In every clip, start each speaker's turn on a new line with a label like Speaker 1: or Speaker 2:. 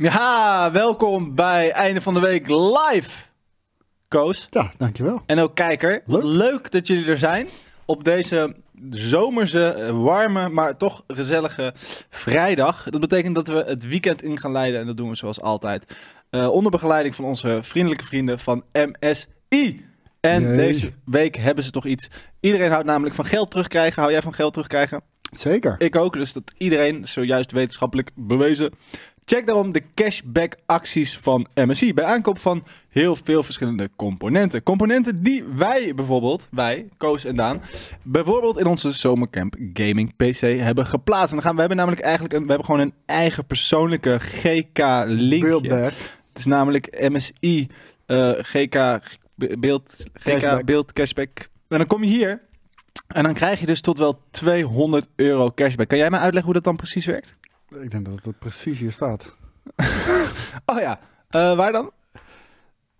Speaker 1: Ja, welkom bij Einde van de Week live, Koos.
Speaker 2: Ja, dankjewel.
Speaker 1: En ook kijker. Wat
Speaker 2: Leuk.
Speaker 1: leuk dat jullie er zijn op deze zomerse, eh, warme, maar toch gezellige vrijdag. Dat betekent dat we het weekend in gaan leiden en dat doen we zoals altijd. eh, onder begeleiding van onze vriendelijke vrienden van MSI. En
Speaker 2: Jee.
Speaker 1: deze week hebben ze toch iets. Iedereen houdt namelijk van geld terugkrijgen. Hou jij van geld terugkrijgen?
Speaker 2: Zeker.
Speaker 1: Ik ook, dus dat iedereen zojuist wetenschappelijk bewezen. Check daarom de cashback acties van MSI bij aankoop van heel veel verschillende componenten. Componenten die wij bijvoorbeeld, wij, Koos en Daan, bijvoorbeeld in onze Zomercamp Gaming PC hebben geplaatst. En dan gaan we hebben namelijk eigenlijk een, we hebben gewoon een eigen persoonlijke GK
Speaker 2: Build
Speaker 1: linkje.
Speaker 2: back.
Speaker 1: Het is namelijk MSI eh, GK be- beeld, GK
Speaker 2: Cashback.
Speaker 1: beeld cashback. En dan kom je hier en dan krijg je dus tot wel 200 euro cashback. Kan jij mij uitleggen hoe dat dan precies werkt?
Speaker 2: Ik denk dat het precies hier staat.
Speaker 1: Oh ja, Eh, waar dan?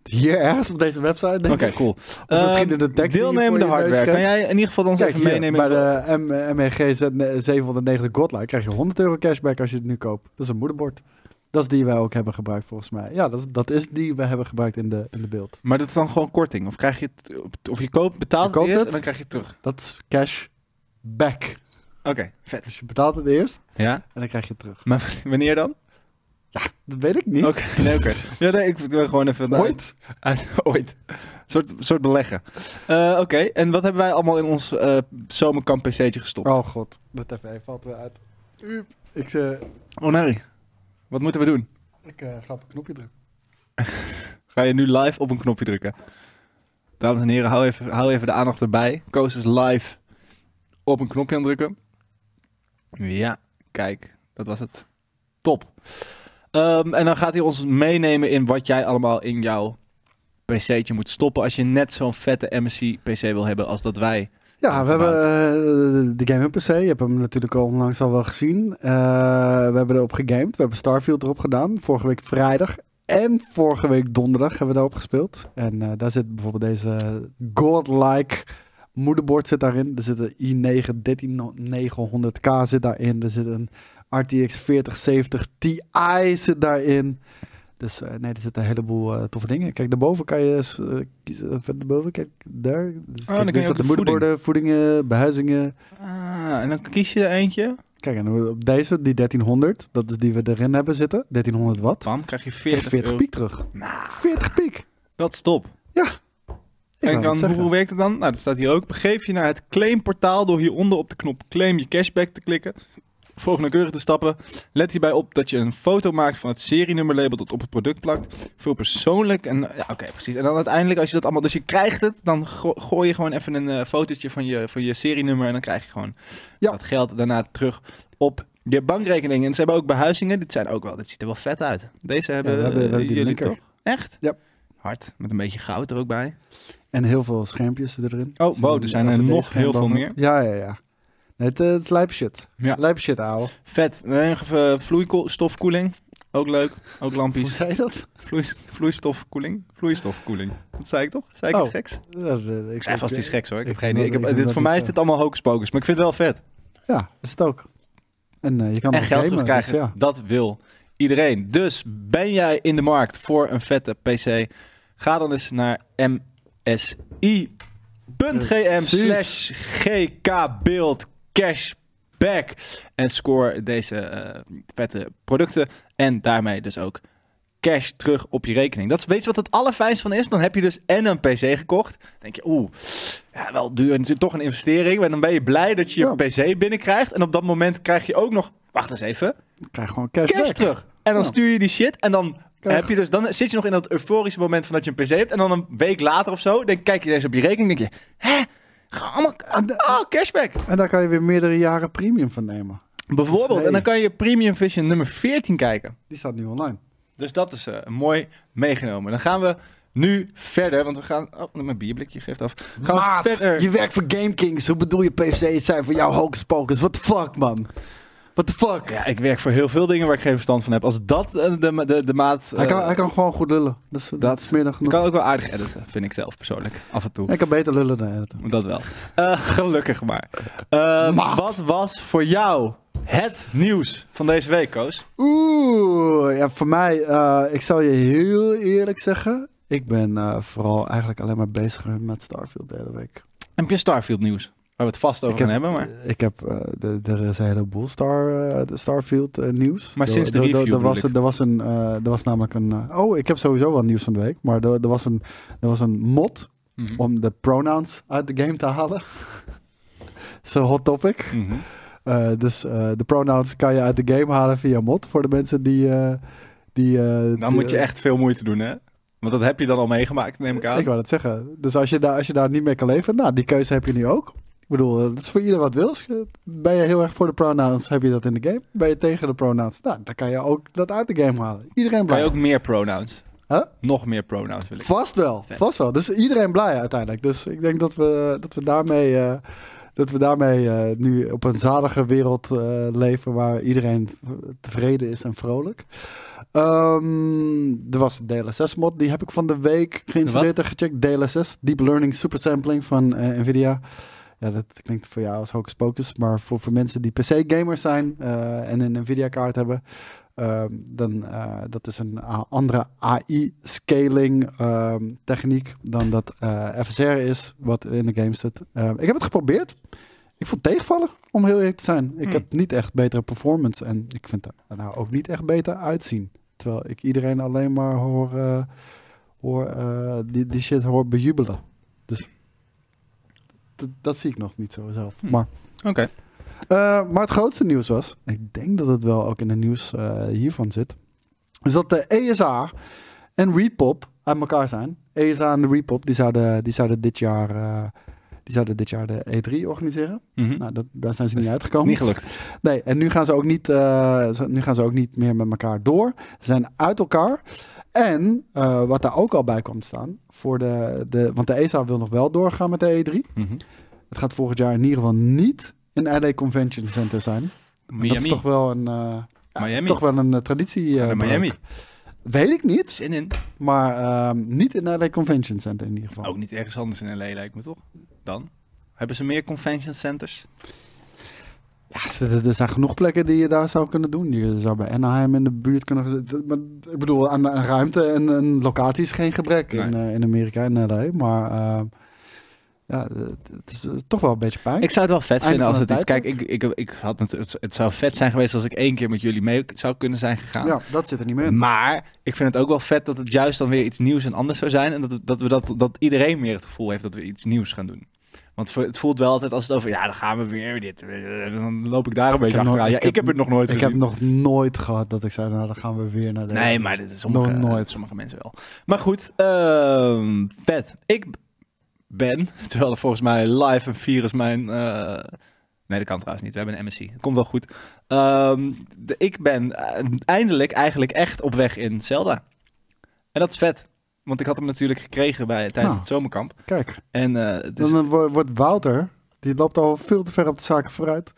Speaker 2: Hier ergens op deze website, denk
Speaker 1: Oké,
Speaker 2: ik.
Speaker 1: cool.
Speaker 2: Of misschien
Speaker 1: Ehm,
Speaker 2: in de tekst die je voor
Speaker 1: Deelnemende
Speaker 2: je neus
Speaker 1: hardware. Kan
Speaker 2: krijgt.
Speaker 1: jij in ieder geval ons
Speaker 2: Kijk,
Speaker 1: even
Speaker 2: hier,
Speaker 1: meenemen?
Speaker 2: bij de eh, M- MEG Z- eh, 790 Godlike krijg je 100 euro cashback als je het nu koopt. Dat is een moederbord. Dat is die wij ook hebben gebruikt, volgens mij. Ja, dat is, dat is die we hebben gebruikt in de, in de beeld.
Speaker 1: Maar dat is dan gewoon korting. Of, krijg je het, of je koopt, betaalt
Speaker 2: Je
Speaker 1: het
Speaker 2: koopt
Speaker 1: eerst
Speaker 2: het.
Speaker 1: en dan krijg je het terug.
Speaker 2: Dat is cashback.
Speaker 1: Oké, vet.
Speaker 2: Dus je betaalt het eerst
Speaker 1: Ja,
Speaker 2: en dan krijg je het terug.
Speaker 1: maar wanneer dan?
Speaker 2: Dat weet ik niet.
Speaker 1: Oké, nee, oké. Ja, nee, ik wil gewoon even...
Speaker 2: Ooit.
Speaker 1: Uit- Ooit. Een soort, soort beleggen. Eh, Oké, en wat hebben wij allemaal in ons eh zomerkamp PC'tje gestopt? Oh.
Speaker 2: Oh god, de tv valt weer uit. Uep. Ik, eh,
Speaker 1: nee. Oh, Wat moeten we doen?
Speaker 2: ik eh, ga op een knopje drukken.
Speaker 1: Ga je nu live op een knopje drukken? Dames en heren, hou even, hou even de aandacht erbij. Koos is live op een knopje aan het drukken. Ja, kijk, dat was het. Top. Ehm, en dan gaat hij ons meenemen in wat jij allemaal in jouw PC'tje moet stoppen. Als je net zo'n vette MSI PC wil hebben als dat wij.
Speaker 2: Ja, we hebben eh, de Game PC. Je hebt hem natuurlijk al onlangs al wel gezien. Eh, we hebben erop gegamed. We hebben Starfield erop gedaan. Vorige week vrijdag. En vorige week donderdag hebben we daarop gespeeld. En eh, daar zit bijvoorbeeld deze godlike moederbord zit daarin. Er zit een i9 13900K zit daarin. Er zit een RTX 4070 Ti zit daarin. Dus eh, nee, er zitten een heleboel eh, toffe dingen. Kijk, daarboven kan je eens, eh, kiezen. Verder boven, kijk daar. Dus
Speaker 1: Ah, dan
Speaker 2: kijk,
Speaker 1: kun
Speaker 2: daar
Speaker 1: je
Speaker 2: staat
Speaker 1: ook
Speaker 2: de
Speaker 1: de
Speaker 2: moederborden, voedingen, behuizingen.
Speaker 1: Ah, en dan kies je er eentje.
Speaker 2: Kijk, en op deze, die 1300, dat is die we erin hebben zitten. 1300 watt.
Speaker 1: Pam, krijg je 40,
Speaker 2: Krijg je 40
Speaker 1: euro.
Speaker 2: piek terug.
Speaker 1: Nou,
Speaker 2: 40 piek.
Speaker 1: dat is top.
Speaker 2: Ik
Speaker 1: en
Speaker 2: wou het
Speaker 1: dan, hoe,
Speaker 2: zeggen.
Speaker 1: hoe werkt het dan? Nou, dat staat hier ook. Begeef je naar het claimportaal door hieronder op de knop claim je cashback te klikken. Volg nauwkeurig de stappen. Let hierbij op dat je een foto maakt van het serienummerlabel dat op het product plakt. Veel persoonlijk en... Ja, oké, precies. En dan uiteindelijk, als je dat allemaal... Dus je krijgt het, dan go- gooi je gewoon even een eh, fotootje van je, van je serienummer... en dan krijg je gewoon
Speaker 2: Ja.
Speaker 1: dat geld daarna terug op je bankrekening. En ze hebben ook behuizingen. Dit zijn ook wel... Dit ziet er wel vet uit. Deze hebben,
Speaker 2: we hebben- we
Speaker 1: eh,
Speaker 2: hebben die
Speaker 1: jullie
Speaker 2: linker.
Speaker 1: toch? Echt?
Speaker 2: Ja.
Speaker 1: Hard, met een beetje goud er ook bij.
Speaker 2: En heel veel schermpjes zitten erin.
Speaker 1: Oh, wow,
Speaker 2: een
Speaker 1: er zijn er
Speaker 2: LCD
Speaker 1: nog
Speaker 2: scherm
Speaker 1: heel veel
Speaker 2: bovenop. Ja, ja, ja. Nee, het, eh, het is lijp shit.
Speaker 1: Ja.
Speaker 2: Lijp shit, ouwe.
Speaker 1: Vet. Dan nog even vloeistofkoeling. Ook leuk. Ook
Speaker 2: Hoe
Speaker 1: lampjes.
Speaker 2: zei je dat?
Speaker 1: Vloeis- vloeistofkoeling. Vloeistofkoeling. Dat zei ik toch? Zei ik
Speaker 2: Oh.
Speaker 1: iets geks?
Speaker 2: Ja, eh, ik
Speaker 1: Ik zei vast iets geks hoor. Ik heb
Speaker 2: ik
Speaker 1: geen
Speaker 2: wil-
Speaker 1: idee. Ik heb-
Speaker 2: ik wil
Speaker 1: dit,
Speaker 2: dat
Speaker 1: voor
Speaker 2: niet
Speaker 1: mij is
Speaker 2: zeggen.
Speaker 1: dit allemaal hocus-pocus. Maar ik vind het wel vet.
Speaker 2: Ja, is het ook. En eh, je kan
Speaker 1: En
Speaker 2: nog
Speaker 1: geld
Speaker 2: gamen,
Speaker 1: terugkrijgen.
Speaker 2: dus ja.
Speaker 1: Dat wil iedereen. Dus ben jij in de markt voor een vette PC? Ga dan eens naar msi.gm slash
Speaker 2: Precies.
Speaker 1: gkbeeld cashback. En score deze eh, vette producten. En daarmee dus ook cash terug op je rekening. Dat is, weet je wat het allerfijnst van is? Dan heb je dus en een PC gekocht. Dan denk je, oeh, ja, wel duur. Natuurlijk toch een investering. Maar dan ben je blij dat je je
Speaker 2: Ja.
Speaker 1: PC binnenkrijgt. En op dat moment krijg je ook nog, wacht eens even,
Speaker 2: Ik krijg gewoon cash,
Speaker 1: cash
Speaker 2: back.
Speaker 1: terug. En dan
Speaker 2: Ja.
Speaker 1: stuur je die shit. En dan,
Speaker 2: Kijk.
Speaker 1: heb je dus, dan zit je nog in dat euforische moment van dat je een PC hebt. En dan een week later of zo, dan kijk je eens op je rekening. denk je, hè? Gewoon
Speaker 2: Ah,
Speaker 1: Allemaal, oh, cashback.
Speaker 2: En daar kan je weer meerdere jaren premium van nemen.
Speaker 1: Bijvoorbeeld.
Speaker 2: Nee.
Speaker 1: En dan kan je Premium Vision nummer 14 kijken.
Speaker 2: Die staat nu online.
Speaker 1: Dus dat is eh, mooi meegenomen. Dan gaan we nu verder, want we gaan... Oh, mijn bierblikje geeft af. Gaan
Speaker 2: Maat,
Speaker 1: we verder...
Speaker 2: je werkt voor GameKings. Hoe bedoel je PC's zijn voor jou hocus pocus? What the fuck, man? What the fuck?
Speaker 1: Ja, ik werk voor heel veel dingen waar ik geen verstand van heb. Als dat eh, de, de, de maat...
Speaker 2: hij, kan,
Speaker 1: eh,
Speaker 2: hij kan gewoon goed lullen. Dat is, dat
Speaker 1: dat-
Speaker 2: is meer dan
Speaker 1: ik
Speaker 2: genoeg.
Speaker 1: kan ook wel aardig editen, vind ik zelf persoonlijk. Af en toe.
Speaker 2: Hij kan beter lullen dan editen.
Speaker 1: Dat wel. Eh, gelukkig maar. Eh,
Speaker 2: Maat.
Speaker 1: wat was voor jou Het nieuws van deze week, Koos.
Speaker 2: Oeh, ja, voor mij, eh, ik zal je heel eerlijk zeggen. Ik ben eh, vooral eigenlijk alleen maar bezig met Starfield de hele week.
Speaker 1: Heb je Starfield nieuws? Waar we het vast over
Speaker 2: ik
Speaker 1: gaan
Speaker 2: heb,
Speaker 1: hebben, maar...
Speaker 2: Ik heb, eh, de- er is een heleboel Star, eh, de Starfield eh, nieuws.
Speaker 1: Maar
Speaker 2: Er-
Speaker 1: sinds de
Speaker 2: er- er-
Speaker 1: review
Speaker 2: Er was,
Speaker 1: bedoel ik.
Speaker 2: er was, een, eh, er was namelijk een... eh, oh, ik heb sowieso wel nieuws van de week. Maar er, er, was, een, er was een mod
Speaker 1: Mhm.
Speaker 2: om de pronouns uit de game te halen. Zo'n hot topic.
Speaker 1: Mhm.
Speaker 2: Eh, dus eh, de pronouns kan je uit de game halen via mod. Voor de mensen die... eh, die eh,
Speaker 1: Dan
Speaker 2: die-
Speaker 1: moet je echt veel moeite doen, hè? Want dat heb je dan al meegemaakt, neem ik aan.
Speaker 2: Ik wou dat zeggen. Dus als je, daar, als je daar niet mee kan leven, nou, die keuze heb je nu ook. Ik bedoel, eh, dat is voor ieder wat wil. Ben je heel erg voor de pronouns, heb je dat in de game. Ben je tegen de pronouns, nou, dan kan je ook dat uit de game halen. Iedereen
Speaker 1: Kan je
Speaker 2: blij.
Speaker 1: ook meer pronouns?
Speaker 2: Huh?
Speaker 1: Nog meer pronouns wil ik.
Speaker 2: Vast wel,
Speaker 1: Vet.
Speaker 2: vast wel. Dus iedereen blij uiteindelijk. Dus ik denk dat we, dat we daarmee, eh, dat we daarmee eh, nu op een zalige wereld eh, leven waar iedereen tevreden is en vrolijk. Ehm, er was een DLSS mod, die heb ik van de week geïnstalleerd en gecheckt. DLSS, Deep Learning Supersampling van eh, Nvidia. Ja, dat klinkt voor jou als hocus pocus, maar voor, voor mensen die PC-gamers zijn eh, en een Nvidia-kaart hebben, Ehm, dan, eh, dat is een a- andere AI-scaling ehm, techniek dan dat eh, FSR is, wat in de game zit. Ehm, ik heb het geprobeerd. Ik vond het tegenvallen, om heel eerlijk te zijn. Ik
Speaker 1: Hmm.
Speaker 2: heb niet echt betere performance en ik vind het nou ook niet echt beter uitzien. Terwijl ik iedereen alleen maar hoor, eh, hoor eh, die, die shit hoor bejubelen. Dus dat, dat zie ik nog niet zo zelf.
Speaker 1: Hmm.
Speaker 2: Maar
Speaker 1: Oké.
Speaker 2: eh, maar het grootste nieuws was, ik denk dat het wel ook in het nieuws eh, hiervan zit, is dat de ESA en Repop aan elkaar zijn. ESA en de Repop, die zouden, die zouden, dit, jaar, eh, die zouden dit jaar de E3 organiseren.
Speaker 1: Mhm.
Speaker 2: Nou, dat, daar zijn ze niet
Speaker 1: Is
Speaker 2: uitgekomen.
Speaker 1: niet gelukt.
Speaker 2: Nee, en nu gaan, ze ook niet, eh, ze- nu gaan ze ook niet meer met elkaar door. Ze zijn uit elkaar. En eh, wat daar ook al bij komt staan, voor de, de, want de ESA wil nog wel doorgaan met de E3.
Speaker 1: Mhm.
Speaker 2: Het gaat volgend jaar in ieder geval niet in LA Convention Center zijn.
Speaker 1: Miami.
Speaker 2: Dat is toch wel een, eh, ja, dat is
Speaker 1: Miami.
Speaker 2: toch wel een eh, traditie. eh,
Speaker 1: Gaan we naar
Speaker 2: breuk.
Speaker 1: Miami.
Speaker 2: Weet ik niet,
Speaker 1: Zin in.
Speaker 2: maar ehm, niet in LA Convention Center in ieder geval.
Speaker 1: Ook niet ergens anders in L.A. lijkt me toch? Dan? Hebben ze meer convention centers?
Speaker 2: Ja, er- er- er zijn genoeg plekken die je daar zou kunnen doen. Je zou bij Anaheim in de buurt kunnen. gez- dat- Maar, ik bedoel, aan, aan ruimte en, en locatie is geen gebrek in, eh, in Amerika en LA. Maar ehm, ja, het, het is eh, toch wel een beetje pijn.
Speaker 1: Ik zou het wel vet
Speaker 2: Einde
Speaker 1: vinden als
Speaker 2: van
Speaker 1: het
Speaker 2: het
Speaker 1: iets... Kijk, ik, ik, ik had het, het, het zou vet zijn geweest als ik één keer met jullie mee zou kunnen zijn gegaan.
Speaker 2: ja, dat zit er niet meer in.
Speaker 1: Maar ik vind het ook wel vet dat het juist dan weer iets nieuws en anders zou zijn. En dat, dat, we dat, dat iedereen weer het gevoel heeft dat we iets nieuws gaan doen. Want vo- het voelt wel altijd als het over, ja, dan gaan we weer dit. eh, Dan loop ik daar een beetje
Speaker 2: heb nooit-
Speaker 1: achteraan. ja,
Speaker 2: ik
Speaker 1: ik,
Speaker 2: heb-
Speaker 1: heb het nog nooit
Speaker 2: Ik
Speaker 1: gezien.
Speaker 2: heb nog nooit gehad dat ik zei, nou dan gaan we weer naar de...
Speaker 1: Nee, maar dit is sommige,
Speaker 2: Nog nooit.
Speaker 1: sommige mensen wel. Maar goed, ehm, vet. Ik ben, terwijl er volgens mij live een virus mijn... eh, nee, dat kan trouwens niet. We hebben een MSC. Het komt wel goed. Ehm, de- ik ben eh, eindelijk eigenlijk echt op weg in Zelda. En dat is vet. Want ik had hem natuurlijk gekregen bij, tijdens
Speaker 2: Nou.
Speaker 1: het zomerkamp.
Speaker 2: Kijk,
Speaker 1: En eh, het is
Speaker 2: Dan wo- wordt Wouter, die loopt al veel te ver op de zaken vooruit.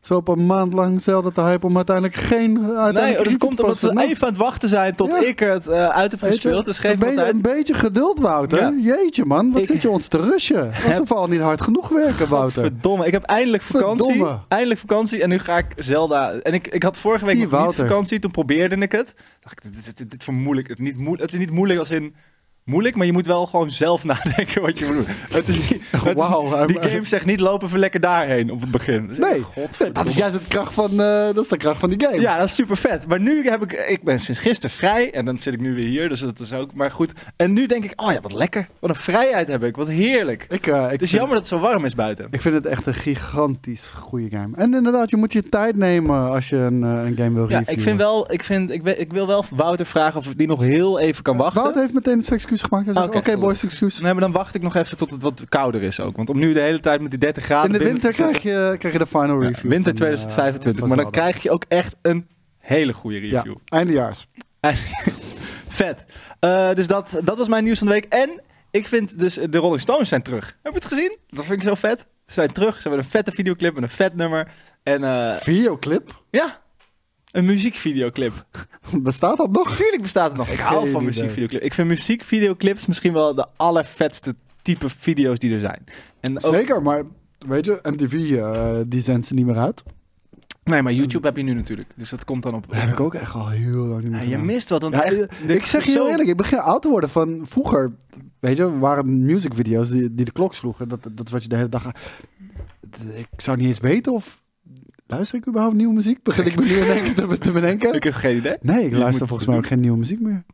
Speaker 2: Zo op een maand lang zelden te hypen om uiteindelijk geen uiteindelijk
Speaker 1: Nee, oh, dat
Speaker 2: review te
Speaker 1: komt omdat
Speaker 2: posten.
Speaker 1: ze
Speaker 2: Nou,
Speaker 1: even aan het wachten zijn tot
Speaker 2: Ja.
Speaker 1: ik het eh, uit heb
Speaker 2: weet je,
Speaker 1: gespeeld. Dus geef
Speaker 2: een,
Speaker 1: me wat
Speaker 2: beetje,
Speaker 1: tijd.
Speaker 2: een beetje geduld, Wouter. Jeetje, man. Wat
Speaker 1: Ik-
Speaker 2: zit je ons te rushen? Alsof we al niet hard genoeg werken, Wouter.
Speaker 1: Verdomme, ik heb eindelijk vakantie.
Speaker 2: Verdomme.
Speaker 1: Eindelijk vakantie en nu ga ik Zelda. En ik, ik had vorige week
Speaker 2: Die
Speaker 1: nog niet
Speaker 2: Wouter.
Speaker 1: vakantie, toen probeerde ik het. Dacht ik, dit, is- dit, dit vermoeilijk. Het, niet moe- het is niet moeilijk als in moeilijk, maar je moet wel gewoon zelf nadenken wat je moet doen. Het is niet, het is-
Speaker 2: Wauw. hij-
Speaker 1: die game zegt niet lopen we lekker daarheen op het begin. Dus
Speaker 2: Nee,
Speaker 1: godverdomme.
Speaker 2: Dat is juist het kracht van, eh, dat is de kracht van die game.
Speaker 1: Ja, dat is super vet. Maar nu heb ik, ik ben sinds gisteren vrij en dan zit ik nu weer hier, dus dat is ook maar goed. En nu denk ik, oh ja, wat lekker. Wat een vrijheid heb ik, wat heerlijk.
Speaker 2: Ik, eh, ik
Speaker 1: Het is
Speaker 2: vind-
Speaker 1: jammer dat het zo warm is buiten.
Speaker 2: Ik vind het echt een gigantisch goede game. En inderdaad, je moet je tijd nemen als je een, eh, een game wil reviewen.
Speaker 1: Ja, ik vind wel, ik, vind, ik, we- ik wil wel Wouter vragen of die nog heel even kan wachten. Ah,
Speaker 2: Wouter heeft meteen het excuus gemaakt. Hij zegt,
Speaker 1: Oké,
Speaker 2: oké boys, excuus.
Speaker 1: Nee, maar dan wacht ik nog even tot het wat kouder is ook. Want om nu de hele tijd met die 30
Speaker 2: In
Speaker 1: graden.
Speaker 2: de
Speaker 1: binnen
Speaker 2: winter
Speaker 1: te zitten-
Speaker 2: krijg je, krijg je de final
Speaker 1: Ja,
Speaker 2: review.
Speaker 1: winter
Speaker 2: van, eh,
Speaker 1: 2025.
Speaker 2: van
Speaker 1: maar dan
Speaker 2: Zelda.
Speaker 1: krijg je ook echt een hele goede
Speaker 2: Ja,
Speaker 1: review.
Speaker 2: eindejaars.
Speaker 1: Vet. Eh, dus dat, dat was mijn nieuws van de week. En ik vind dus eh, de Rolling Stones zijn terug. Heb je het gezien? Dat vind ik zo vet. Ze zijn terug. Ze hebben een vette videoclip en een vet nummer. En eh,
Speaker 2: Videoclip?
Speaker 1: ja, een muziekvideoclip.
Speaker 2: Bestaat dat nog?
Speaker 1: Natuurlijk bestaat het nog. Ik hou
Speaker 2: Geen
Speaker 1: van
Speaker 2: idee.
Speaker 1: muziekvideoclips. Ik vind muziekvideoclips misschien wel de allervetste type video's die er zijn. En ook-
Speaker 2: Zeker, maar weet je, MTV, eh, die zendt ze niet meer uit.
Speaker 1: Nee, maar YouTube heb je nu natuurlijk. Dus dat komt dan op.
Speaker 2: Dat heb ik ook echt al heel lang niet meer
Speaker 1: Ja, je
Speaker 2: gedaan.
Speaker 1: mist wat. Dan
Speaker 2: Ja, ik zeg je heel eerlijk, ik begin oud te worden van vroeger. Weet je, waren musicvideo's die, die de klok sloegen. Dat, dat is wat je de hele dag. Ik zou niet eens weten of. Luister ik überhaupt nieuwe muziek? Begin ik me nu in één keer te, te bedenken?
Speaker 1: Ik heb geen idee.
Speaker 2: Nee, ik
Speaker 1: Je
Speaker 2: luister
Speaker 1: moet
Speaker 2: volgens
Speaker 1: het
Speaker 2: mij ook geen nieuwe muziek meer.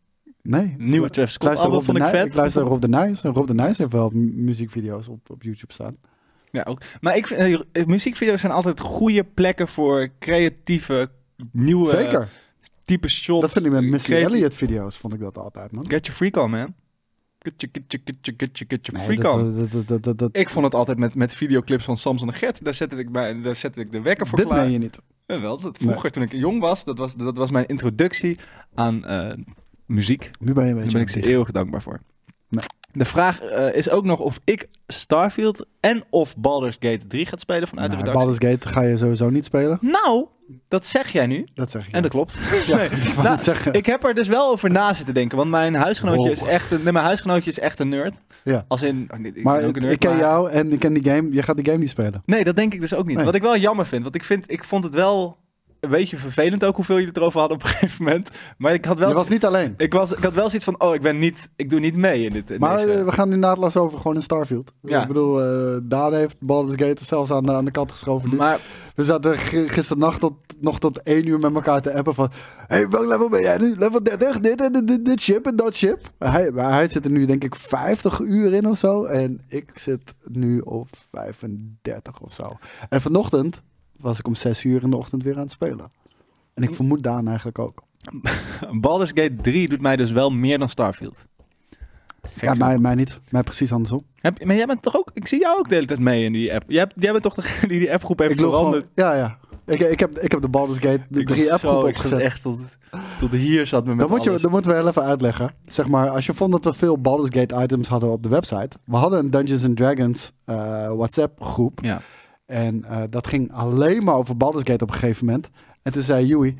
Speaker 2: Nee.
Speaker 1: Nieuwe Travis
Speaker 2: Ik
Speaker 1: Scott
Speaker 2: luister
Speaker 1: album
Speaker 2: Rob
Speaker 1: vond ik
Speaker 2: de Nij-
Speaker 1: vet.
Speaker 2: Ik luister Rob de Nijs. En Rob de Nijs heeft wel mu- muziekvideo's op, op YouTube staan.
Speaker 1: Ja, ook. Maar ik vind, eh, muziekvideo's zijn altijd goede plekken voor creatieve, nieuwe
Speaker 2: Zeker.
Speaker 1: type shots.
Speaker 2: Dat vind ik met Missy
Speaker 1: Creatief-
Speaker 2: Elliott video's, vond ik dat altijd, man.
Speaker 1: Get your freak on, man. Get your, get your, get your, get your, get your
Speaker 2: Nee,
Speaker 1: freak
Speaker 2: dat-
Speaker 1: on.
Speaker 2: dat- dat- dat- dat- dat-
Speaker 1: Ik vond het altijd met, met videoclips van Samson en Gert. Daar zette ik, bij, daar zette ik de wekker voor
Speaker 2: Dit
Speaker 1: klaar.
Speaker 2: meen je niet.
Speaker 1: Ja, wel, dat vroeger toen ik jong was, dat was, dat was mijn introductie aan eh, muziek.
Speaker 2: Nu ben je een
Speaker 1: Daar
Speaker 2: beetje
Speaker 1: ben ik ze eeuwig dankbaar voor.
Speaker 2: Nou.
Speaker 1: De vraag eh, is ook nog of ik Starfield en of Baldur's Gate 3 gaat spelen vanuit de
Speaker 2: Nou,
Speaker 1: redactie.
Speaker 2: Baldur's Gate ga je sowieso niet spelen.
Speaker 1: Nou, dat zeg jij nu.
Speaker 2: Dat zeg ik.
Speaker 1: En dat klopt.
Speaker 2: Ja,
Speaker 1: Nee.
Speaker 2: ik wou
Speaker 1: Nou,
Speaker 2: het zeggen.
Speaker 1: Ik heb er dus wel over na zitten denken, want mijn huisgenootje
Speaker 2: Wow.
Speaker 1: is echt een, nee, mijn huisgenootje is echt een nerd.
Speaker 2: Ja.
Speaker 1: Als in, oh, nee, ik
Speaker 2: maar
Speaker 1: ben ook
Speaker 2: ik,
Speaker 1: een nerd,
Speaker 2: ik ken
Speaker 1: maar-
Speaker 2: jou en ik ken die game. Je gaat die game niet spelen.
Speaker 1: Nee, dat denk ik dus ook niet.
Speaker 2: Nee.
Speaker 1: Wat ik wel jammer vind, want ik vind, ik vond het wel een beetje vervelend ook hoeveel jullie het erover hadden op een gegeven moment. Maar ik had wel,
Speaker 2: je was niet alleen.
Speaker 1: ik was, ik had wel zoiets van, oh, ik ben niet, ik doe niet mee in dit. in
Speaker 2: maar
Speaker 1: deze-
Speaker 2: eh, we gaan nu naadloos over gewoon in Starfield.
Speaker 1: Ja.
Speaker 2: Ik bedoel, eh Daan heeft Baldur's Gate zelfs aan, de- aan de kant geschoven. nu.
Speaker 1: maar
Speaker 2: We zaten g- gisternacht tot, nog tot één uur met elkaar te appen van... hey, welk level ben jij nu? Level 30, dit en dit, dit, dit ship en dat ship. Hij, maar hij zit er nu denk ik 50 uur in of zo. En ik zit nu op 35 of zo. En vanochtend was ik om 6 uur in de ochtend weer aan het spelen. En ik vermoed Daan eigenlijk ook.
Speaker 1: Baldur's Gate 3 doet mij dus wel meer dan Starfield. Gek
Speaker 2: Ja,
Speaker 1: genoeg.
Speaker 2: mij, mij niet. Mij precies andersom.
Speaker 1: Heb, maar jij bent toch ook, ik zie jou ook de hele tijd mee in die app. Jij, hebt- jij bent toch degene die die appgroep heeft
Speaker 2: Ik loop
Speaker 1: veranderd.
Speaker 2: gewoon... Ja, ja. Ik, ik, heb, ik heb de Baldur's Gate de
Speaker 1: Ik was
Speaker 2: drie app
Speaker 1: zo- Ik zat
Speaker 2: opgezet.
Speaker 1: echt tot, tot hier zat me met
Speaker 2: Dat, moet je,
Speaker 1: alles.
Speaker 2: dat moeten we wel even uitleggen. Zeg maar, als je vond dat we veel Baldur's Gate items hadden op de website. We hadden een Dungeons and Dragons eh, WhatsApp groep.
Speaker 1: Ja.
Speaker 2: En eh, dat ging alleen maar over Baldur's Gate op een gegeven moment. En toen zei Joey,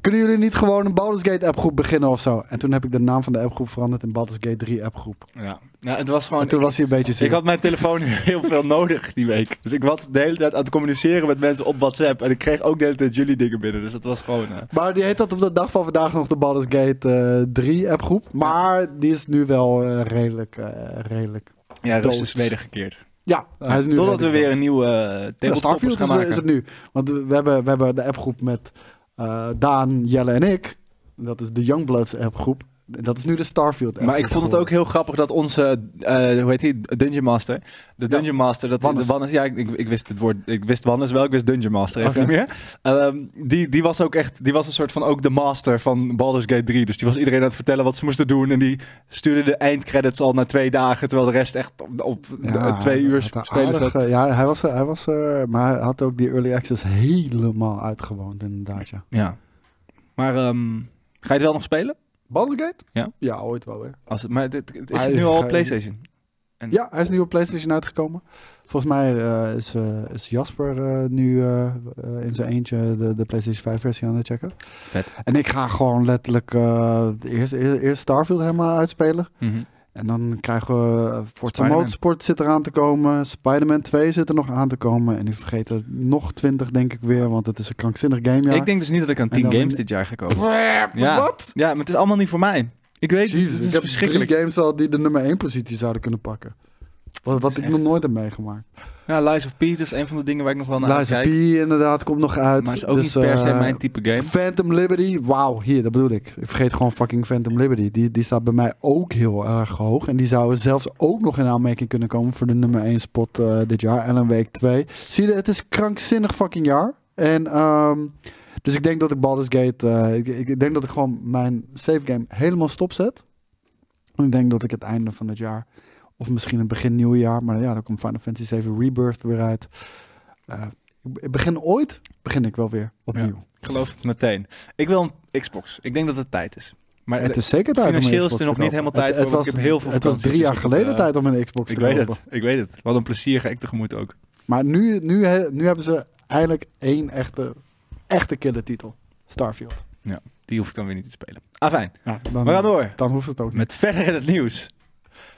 Speaker 2: kunnen jullie niet gewoon een Baldur's Gate appgroep beginnen of zo? En toen heb ik de naam van de appgroep veranderd in Baldur's Gate 3 appgroep.
Speaker 1: Ja. ja, het was gewoon...
Speaker 2: En toen
Speaker 1: Oh, ik-
Speaker 2: was hij een beetje
Speaker 1: Ik
Speaker 2: ziek.
Speaker 1: had mijn telefoon heel veel nodig die week. Dus ik was de hele tijd aan het communiceren met mensen op WhatsApp. En ik kreeg ook de hele tijd jullie dingen binnen. Dus dat was gewoon... eh,
Speaker 2: Maar die heet dat op de dag van vandaag nog de Baldur's Gate eh, 3 appgroep. Maar die is nu wel eh, redelijk, eh, redelijk...
Speaker 1: ja,
Speaker 2: Dood.
Speaker 1: rust is wedergekeerd.
Speaker 2: Ja, hij is nu
Speaker 1: Totdat we
Speaker 2: redelijk
Speaker 1: weer een nieuwe eh,
Speaker 2: Ja,
Speaker 1: tabletoppers
Speaker 2: Starfield
Speaker 1: gaan
Speaker 2: is,
Speaker 1: maken.
Speaker 2: is het nu. Want we hebben, we hebben de appgroep met eh, Daan, Jelle en ik. Dat is de Youngbloods appgroep. En Dat is nu de Starfield app.
Speaker 1: Maar ik vond het ook heel grappig dat onze, eh, hoe heet die, Dungeon Master. De Dungeon Master, dat
Speaker 2: Wannes.
Speaker 1: De Wannes, ja, ik, ik, ik wist het woord, ik wist Wannes wel, ik wist Dungeon Master even
Speaker 2: Oké.
Speaker 1: niet meer. Ehm, die, die was ook echt, die was een soort van ook de master van Baldur's Gate 3. Dus die was iedereen aan het vertellen wat ze moesten doen. En die stuurde de eindcredits al na twee dagen, terwijl de rest echt op, op eh, twee uur spelen zat.
Speaker 2: Ja, hij was, er- hij was er, maar hij had ook die early access helemaal uitgewoond inderdaad, ja.
Speaker 1: Ja. Maar ehm, ga je het wel nog spelen?
Speaker 2: Baldur's Gate?
Speaker 1: Ja.
Speaker 2: Ja, ooit wel weer.
Speaker 1: Als, het- maar het, het- het- is
Speaker 2: Maar
Speaker 1: het
Speaker 2: ik
Speaker 1: nu al
Speaker 2: ga-
Speaker 1: op Playstation? En-
Speaker 2: Ja, hij is nu op PlayStation uitgekomen. Volgens mij eh, is, eh, is Jasper eh, nu eh, eh, in zijn eentje de, de PlayStation 5 versie aan het checken.
Speaker 1: Vet.
Speaker 2: En ik ga gewoon letterlijk eh, eerst, eerst, eerst Starfield helemaal uitspelen.
Speaker 1: Mhm.
Speaker 2: En dan krijgen we eh, Forza
Speaker 1: Spider-Man.
Speaker 2: Motorsport zit eraan te komen. Spider-Man 2 zit er nog aan te komen. En ik vergeet er nog 20 denk ik weer, want het is een krankzinnig gamejaar.
Speaker 1: Ik denk dus niet dat ik aan
Speaker 2: En
Speaker 1: 10
Speaker 2: dan-
Speaker 1: games dit jaar ga komen.
Speaker 2: ja.
Speaker 1: Ja.
Speaker 2: Wat?
Speaker 1: Ja, maar het is allemaal niet voor mij. Ik weet het,
Speaker 2: Jezus,
Speaker 1: het
Speaker 2: ik
Speaker 1: is
Speaker 2: heb
Speaker 1: verschrikkelijk.
Speaker 2: drie games al die de nummer 1 positie zouden kunnen pakken. Wat, wat
Speaker 1: is
Speaker 2: ik
Speaker 1: echt-
Speaker 2: nog nooit heb meegemaakt.
Speaker 1: Ja, Lies of P, dat is een van de dingen waar ik nog wel naar
Speaker 2: Lies of P
Speaker 1: kijk.
Speaker 2: inderdaad komt nog uit.
Speaker 1: Maar is ook
Speaker 2: Dus,
Speaker 1: niet per se
Speaker 2: eh,
Speaker 1: mijn type game.
Speaker 2: Phantom Liberty, wauw, hier, dat bedoel ik. Ik vergeet gewoon fucking Phantom Liberty. Die, die staat bij mij ook heel erg hoog. En die zou zelfs ook nog in aanmerking kunnen komen voor de nummer 1 spot eh, dit jaar. En een week 2. Zie je, het is krankzinnig fucking jaar. En ehm, dus ik denk dat ik Baldur's Gate, eh, ik, ik ik denk dat ik gewoon mijn save game helemaal stopzet. En Ik denk dat ik het einde van het jaar, of misschien het begin nieuw jaar, maar ja, dan komt Final Fantasy 7 Rebirth weer uit. Eh, ik begin ooit, begin ik wel weer opnieuw.
Speaker 1: Ja. Ik geloof het meteen. Ik wil een Xbox. Ik denk dat het tijd is. Maar
Speaker 2: het is zeker tijd om een
Speaker 1: financieel is
Speaker 2: Xbox
Speaker 1: er
Speaker 2: te
Speaker 1: nog niet
Speaker 2: kopen.
Speaker 1: helemaal tijd
Speaker 2: het,
Speaker 1: voor, want
Speaker 2: het
Speaker 1: ik
Speaker 2: was,
Speaker 1: heb heel veel
Speaker 2: Het was
Speaker 1: vakantie,
Speaker 2: drie
Speaker 1: dus
Speaker 2: jaar
Speaker 1: ik moet,
Speaker 2: geleden
Speaker 1: eh,
Speaker 2: tijd om een Xbox
Speaker 1: ik
Speaker 2: te
Speaker 1: weet
Speaker 2: kopen.
Speaker 1: het. Ik weet het. Wat een plezier ga ik tegemoet ook.
Speaker 2: Maar nu, nu, he- nu hebben ze eindelijk één echte, echte killer titel. Starfield.
Speaker 1: Die hoef ik dan weer niet te spelen. Afijn,
Speaker 2: Ja, dan,
Speaker 1: we gaan door.
Speaker 2: dan hoeft het ook niet.
Speaker 1: Met verder in het nieuws.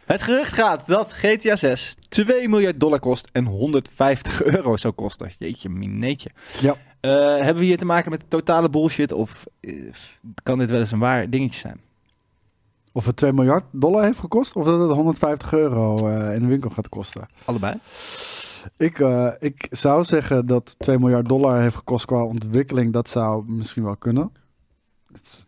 Speaker 1: Het gerucht gaat dat GTA 6 2 miljard dollar kost en 150 euro zou kosten. Jeetje, mineetje.
Speaker 2: Ja.
Speaker 1: Eh, hebben we hier te maken met totale bullshit of eh, kan dit wel eens een waar dingetje zijn?
Speaker 2: Of het 2 miljard dollar heeft gekost, of dat het 150 euro eh, in de winkel gaat kosten.
Speaker 1: Allebei.
Speaker 2: Ik, eh, ik zou zeggen dat 2 miljard dollar heeft gekost qua ontwikkeling. Dat zou misschien wel kunnen.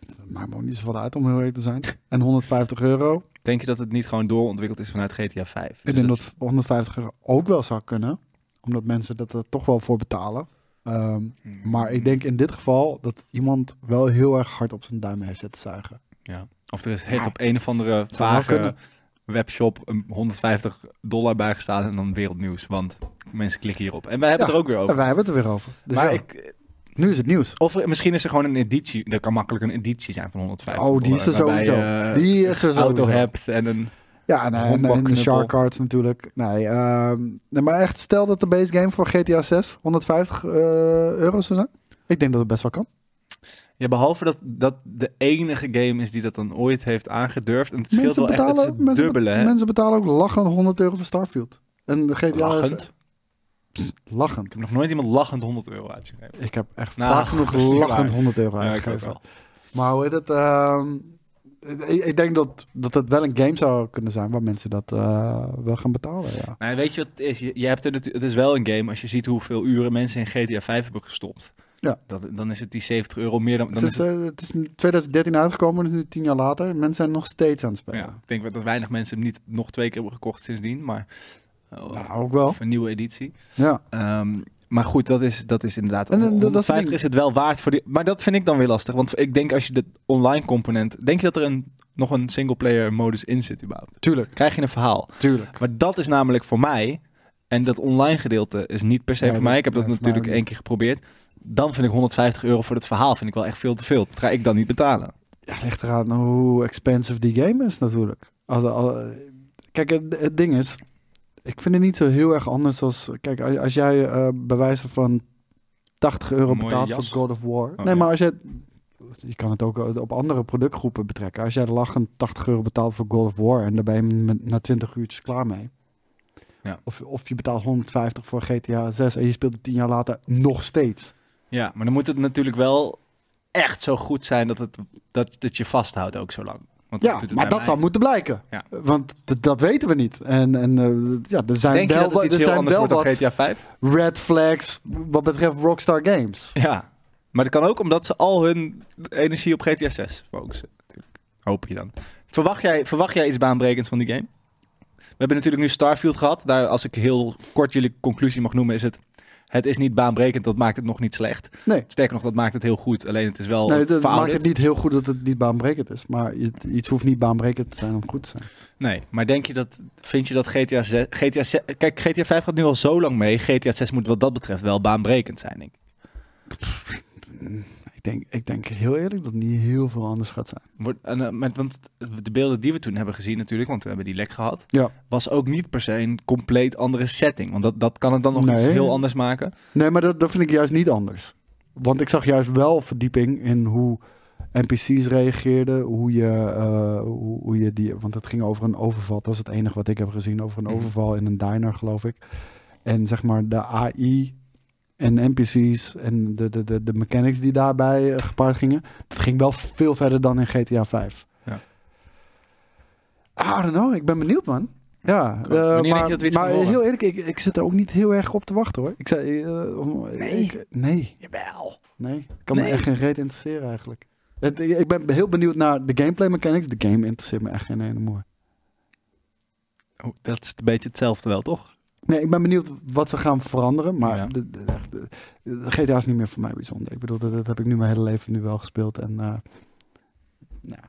Speaker 2: Het maakt me ook niet zoveel uit om heel eerlijk te zijn. En 150 euro.
Speaker 1: Denk je dat het niet gewoon doorontwikkeld is vanuit GTA 5?
Speaker 2: Ik denk dat 150 euro ook wel zou kunnen. Omdat mensen dat er toch wel voor betalen. Ehm, maar ik denk in dit geval dat iemand wel heel erg hard op zijn duim heeft zitten zuigen.
Speaker 1: Ja. Of er is heeft op een of andere
Speaker 2: zou wel
Speaker 1: vage
Speaker 2: kunnen.
Speaker 1: webshop een 150 dollar bijgestaan en dan wereldnieuws. Want mensen klikken hierop. En wij hebben
Speaker 2: Ja,
Speaker 1: het er ook weer
Speaker 2: En
Speaker 1: over.
Speaker 2: wij hebben het er weer over. Dus
Speaker 1: maar
Speaker 2: ja,
Speaker 1: ik,
Speaker 2: nu is het nieuws.
Speaker 1: of er- misschien is er gewoon een editie. Er kan makkelijk een editie zijn van 150
Speaker 2: Oh, die is er
Speaker 1: dollar, waarbij
Speaker 2: sowieso.
Speaker 1: je
Speaker 2: Die is er
Speaker 1: een auto
Speaker 2: sowieso.
Speaker 1: hebt en een...
Speaker 2: Ja, en, en, en de
Speaker 1: Honkbalknuppel.
Speaker 2: Shark Cards natuurlijk. Nee, ehm, nee, maar echt, stel dat de base game voor GTA 6 150 eh, euro zou zijn. Ik denk dat het best wel kan.
Speaker 1: Ja, behalve dat dat de enige game is die dat dan ooit heeft aangedurfd. En het scheelt
Speaker 2: Mensen
Speaker 1: wel echt
Speaker 2: betalen,
Speaker 1: het
Speaker 2: mensen, be-
Speaker 1: dubbele, hè?
Speaker 2: mensen betalen ook lachend 100 euro voor Starfield. En de GTA
Speaker 1: Lachend.
Speaker 2: Is, lachend.
Speaker 1: Ik heb nog nooit iemand lachend 100 euro uitgegeven.
Speaker 2: Ik heb echt
Speaker 1: Nou,
Speaker 2: vaak genoeg
Speaker 1: dat is niet
Speaker 2: lachend
Speaker 1: waar.
Speaker 2: 100 euro
Speaker 1: Ja, ik ook
Speaker 2: uitgegeven.
Speaker 1: wel.
Speaker 2: maar hoe heet het? ehm, ik, ik denk dat, dat het wel een game zou kunnen zijn waar mensen dat eh, wel gaan betalen. Ja.
Speaker 1: Nou, weet je wat het is? Je, je hebt er natu- het is wel een game als je ziet hoeveel uren mensen in GTA 5 hebben gestopt.
Speaker 2: Ja.
Speaker 1: Dat, dan is het die 70 euro meer dan. dan
Speaker 2: Het, is, eh, het is in 2013 uitgekomen, het is nu 10 jaar later. Mensen zijn nog steeds aan het spelen.
Speaker 1: ja, ik denk wel dat weinig mensen hem niet nog twee keer hebben gekocht sindsdien, maar oh,
Speaker 2: Nou, ook wel.
Speaker 1: of een nieuwe editie.
Speaker 2: Ja.
Speaker 1: Ehm, maar goed, dat is, dat is inderdaad.
Speaker 2: En, en, dat is het
Speaker 1: 150
Speaker 2: ding.
Speaker 1: is het wel waard voor die. Maar dat vind ik dan weer lastig, want ik denk als je de online component, denk je dat er een, nog een singleplayer modus in zit überhaupt?
Speaker 2: Tuurlijk,
Speaker 1: Krijg je een verhaal?
Speaker 2: tuurlijk.
Speaker 1: Maar dat is namelijk voor mij. En dat online gedeelte is niet per se
Speaker 2: Nee,
Speaker 1: voor
Speaker 2: dat-
Speaker 1: mij. Ik heb
Speaker 2: nee,
Speaker 1: dat
Speaker 2: voor mij
Speaker 1: natuurlijk
Speaker 2: ook
Speaker 1: één keer geprobeerd. Dan vind ik 150 euro voor het verhaal vind ik wel echt veel te veel. Dat ga ik dan niet betalen.
Speaker 2: Ja, het ligt eraan hoe expensive die game is natuurlijk. Als, al- kijk, het, het ding is, ik vind het niet zo heel erg anders als... Kijk, als, als jij eh, bij wijze van 80 euro
Speaker 1: Mooie
Speaker 2: betaalt
Speaker 1: jas.
Speaker 2: voor God of War...
Speaker 1: Oh,
Speaker 2: nee,
Speaker 1: ja.
Speaker 2: maar als jij... Je kan het ook eh, op andere productgroepen betrekken. Als jij lachend 80 euro betaalt voor God of War... en daar ben je met- na 20 uurtjes klaar mee...
Speaker 1: Ja.
Speaker 2: Of, of je betaalt 150 voor GTA 6 en je speelt het 10 jaar later nog steeds.
Speaker 1: Ja, maar dan moet het natuurlijk wel echt zo goed zijn dat het, dat, dat je vasthoudt ook zo lang. Want
Speaker 2: Ja,
Speaker 1: doet het
Speaker 2: maar
Speaker 1: bij
Speaker 2: dat
Speaker 1: mij.
Speaker 2: zou moeten blijken.
Speaker 1: Ja.
Speaker 2: Want d- dat weten we niet. En, en eh, ja, er zijn
Speaker 1: Denk je
Speaker 2: wel,
Speaker 1: dat
Speaker 2: wat-
Speaker 1: het iets heel
Speaker 2: er zijn
Speaker 1: anders
Speaker 2: wel
Speaker 1: wordt
Speaker 2: wat
Speaker 1: dan GTA 5?
Speaker 2: red flags wat betreft Rockstar Games.
Speaker 1: Ja, maar dat kan ook omdat ze al hun energie op GTA 6 focussen. Natuurlijk. Hoop je dan. Verwacht jij, verwacht jij iets baanbrekends van die game? We hebben natuurlijk nu Starfield gehad. Daar, als ik heel kort jullie conclusie mag noemen, is het... Het is niet baanbrekend, dat maakt het nog niet slecht.
Speaker 2: Nee.
Speaker 1: Sterker nog, dat maakt het heel goed. Alleen het is wel
Speaker 2: nee, dat
Speaker 1: fout.
Speaker 2: maakt het niet heel goed dat het niet baanbrekend is. Maar het- iets hoeft niet baanbrekend te zijn om goed te zijn.
Speaker 1: Nee, maar denk je dat... Vind je dat GTA 6... GTA 6 kijk, GTA 5 gaat nu al zo lang mee. GTA 6 moet wat dat betreft wel baanbrekend zijn, denk ik. Mm,
Speaker 2: Ik denk, ik denk heel eerlijk dat het niet heel veel anders gaat zijn.
Speaker 1: Wordt- en, eh, met, want de beelden die we toen hebben gezien natuurlijk, want we hebben die lek gehad,
Speaker 2: Ja.
Speaker 1: was ook niet per se een compleet andere setting. Want dat, dat kan het dan nog iets
Speaker 2: Nee.
Speaker 1: heel anders maken.
Speaker 2: Nee, maar dat, dat vind ik juist niet anders. Want ik zag juist wel verdieping in hoe NPC's reageerden, hoe je, eh, hoe, hoe je die... Want het ging over een overval, dat is het enige wat ik heb gezien, over een
Speaker 1: Mhm.
Speaker 2: overval in een diner, geloof ik. En zeg maar de AI en NPC's en de, de, de, de mechanics die daarbij eh, gepaard gingen, dat ging wel veel verder dan in GTA 5.
Speaker 1: Ja.
Speaker 2: I don't know, ik ben benieuwd man. Ja,
Speaker 1: Cool.
Speaker 2: eh,
Speaker 1: Wanneer denk je
Speaker 2: maar,
Speaker 1: dat we iets
Speaker 2: maar
Speaker 1: gaan horen?
Speaker 2: heel eerlijk, ik, ik zit er ook niet heel erg op te wachten hoor. Ik zei, eh, om-
Speaker 1: Nee.
Speaker 2: ik- nee,
Speaker 1: Jawel.
Speaker 2: nee. Kan me
Speaker 1: Nee.
Speaker 2: echt geen reet interesseren eigenlijk. Het- ik ik ben heel benieuwd naar de gameplay mechanics. De game interesseert me echt geen ene moer.
Speaker 1: Dat is een beetje hetzelfde wel, toch?
Speaker 2: Nee, ik ben benieuwd wat ze gaan veranderen. Maar
Speaker 1: Ja.
Speaker 2: de, de- echt, de- de GTA is niet meer voor mij bijzonder. Ik bedoel, dat, dat heb ik nu mijn hele leven nu wel gespeeld. En, eh, nou,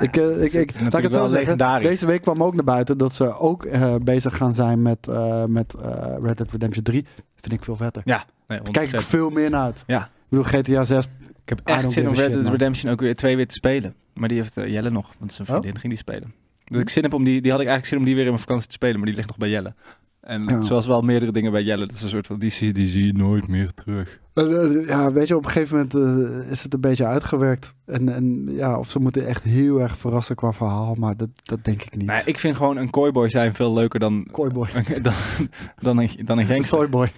Speaker 2: ik, eh, ik, ik, laat ik het zo zeggen. Deze week kwam ook naar buiten dat ze ook eh, bezig gaan zijn met, eh, met eh, Red Dead Redemption 3. vind ik veel vetter. Daar kijk ik veel meer naar uit.
Speaker 1: Ja.
Speaker 2: Ik bedoel, GTA 6.
Speaker 1: ik heb
Speaker 2: I
Speaker 1: echt
Speaker 2: don't
Speaker 1: zin
Speaker 2: give
Speaker 1: om
Speaker 2: a
Speaker 1: Red
Speaker 2: shit,
Speaker 1: Dead
Speaker 2: man.
Speaker 1: Redemption ook weer twee weer te spelen. Maar die heeft eh, Jelle nog, want zijn
Speaker 2: Oh?
Speaker 1: vriendin ging die spelen. Dus
Speaker 2: Hm.
Speaker 1: ik zin heb om die, die had ik eigenlijk zin om die weer in mijn vakantie te spelen, maar die ligt nog bij Jelle. En
Speaker 2: Ja.
Speaker 1: zoals wel meerdere dingen bij Jelle, dat is een soort van, die zie, die zie je nooit meer terug.
Speaker 2: Eh, eh, ja, weet je, op een gegeven moment eh, is het een beetje uitgewerkt. En, en ja, of ze moeten echt heel erg verrassen qua verhaal, maar dat, dat denk ik niet.
Speaker 1: Nou, ik vind gewoon een cowboy zijn veel leuker dan
Speaker 2: Kooiboy.
Speaker 1: dan, dan een, dan een gangster.
Speaker 2: Soyboy.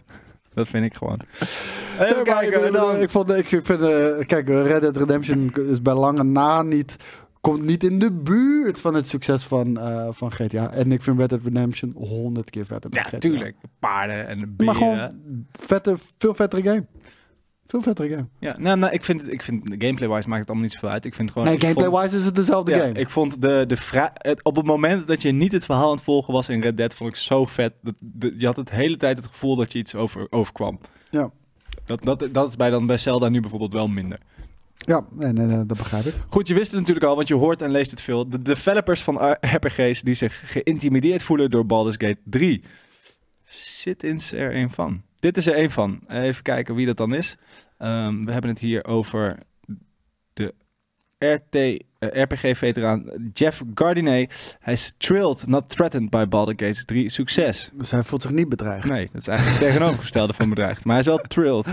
Speaker 1: Dat vind ik gewoon.
Speaker 2: Nee,
Speaker 1: Even
Speaker 2: maar ik,
Speaker 1: kijken,
Speaker 2: bedoel,
Speaker 1: dan.
Speaker 2: ik, vond, ik vind, eh, kijk, Red Dead Redemption is bij lange na niet, komt niet in de buurt van het succes van, eh, van GTA. En ik vind Red Dead Redemption honderd keer vetter dan
Speaker 1: Ja,
Speaker 2: GTA.
Speaker 1: tuurlijk. Paarden en beren.
Speaker 2: Maar gewoon vette, veel vettere game. Veel vettere game.
Speaker 1: Ja, nou, nou, ik vind, het- ik vind gameplay-wise maakt het allemaal niet zoveel uit. Ik vind gewoon...
Speaker 2: Nee,
Speaker 1: Oh, ik vond-
Speaker 2: gameplay-wise is het dezelfde
Speaker 1: Ja,
Speaker 2: game.
Speaker 1: ik vond de, de vra- het, op het moment dat je niet het verhaal aan het volgen was in Red Dead, vond ik zo vet. Dat, de- je had het hele tijd het gevoel dat je iets over, overkwam.
Speaker 2: Ja.
Speaker 1: Dat, dat, dat is bij, dan bij Zelda nu bijvoorbeeld wel minder.
Speaker 2: Ja, nee, nee, nee, dat begrijp ik.
Speaker 1: Goed, je wist het natuurlijk al, want je hoort en leest het veel. De developers van R- RPG's die zich geïntimideerd voelen door Baldur's Gate 3. Zit eens er een van. Dit is er een van. Even kijken wie dat dan is. Ehm, we hebben het hier over de eh, RT, RPG-veteraan Jeff Gardinet. Hij is thrilled, not threatened by Baldur's Gate 3. Succes.
Speaker 2: Dus hij voelt zich niet bedreigd.
Speaker 1: Nee, dat is eigenlijk het tegenovergestelde van bedreigd. Maar hij is wel thrilled.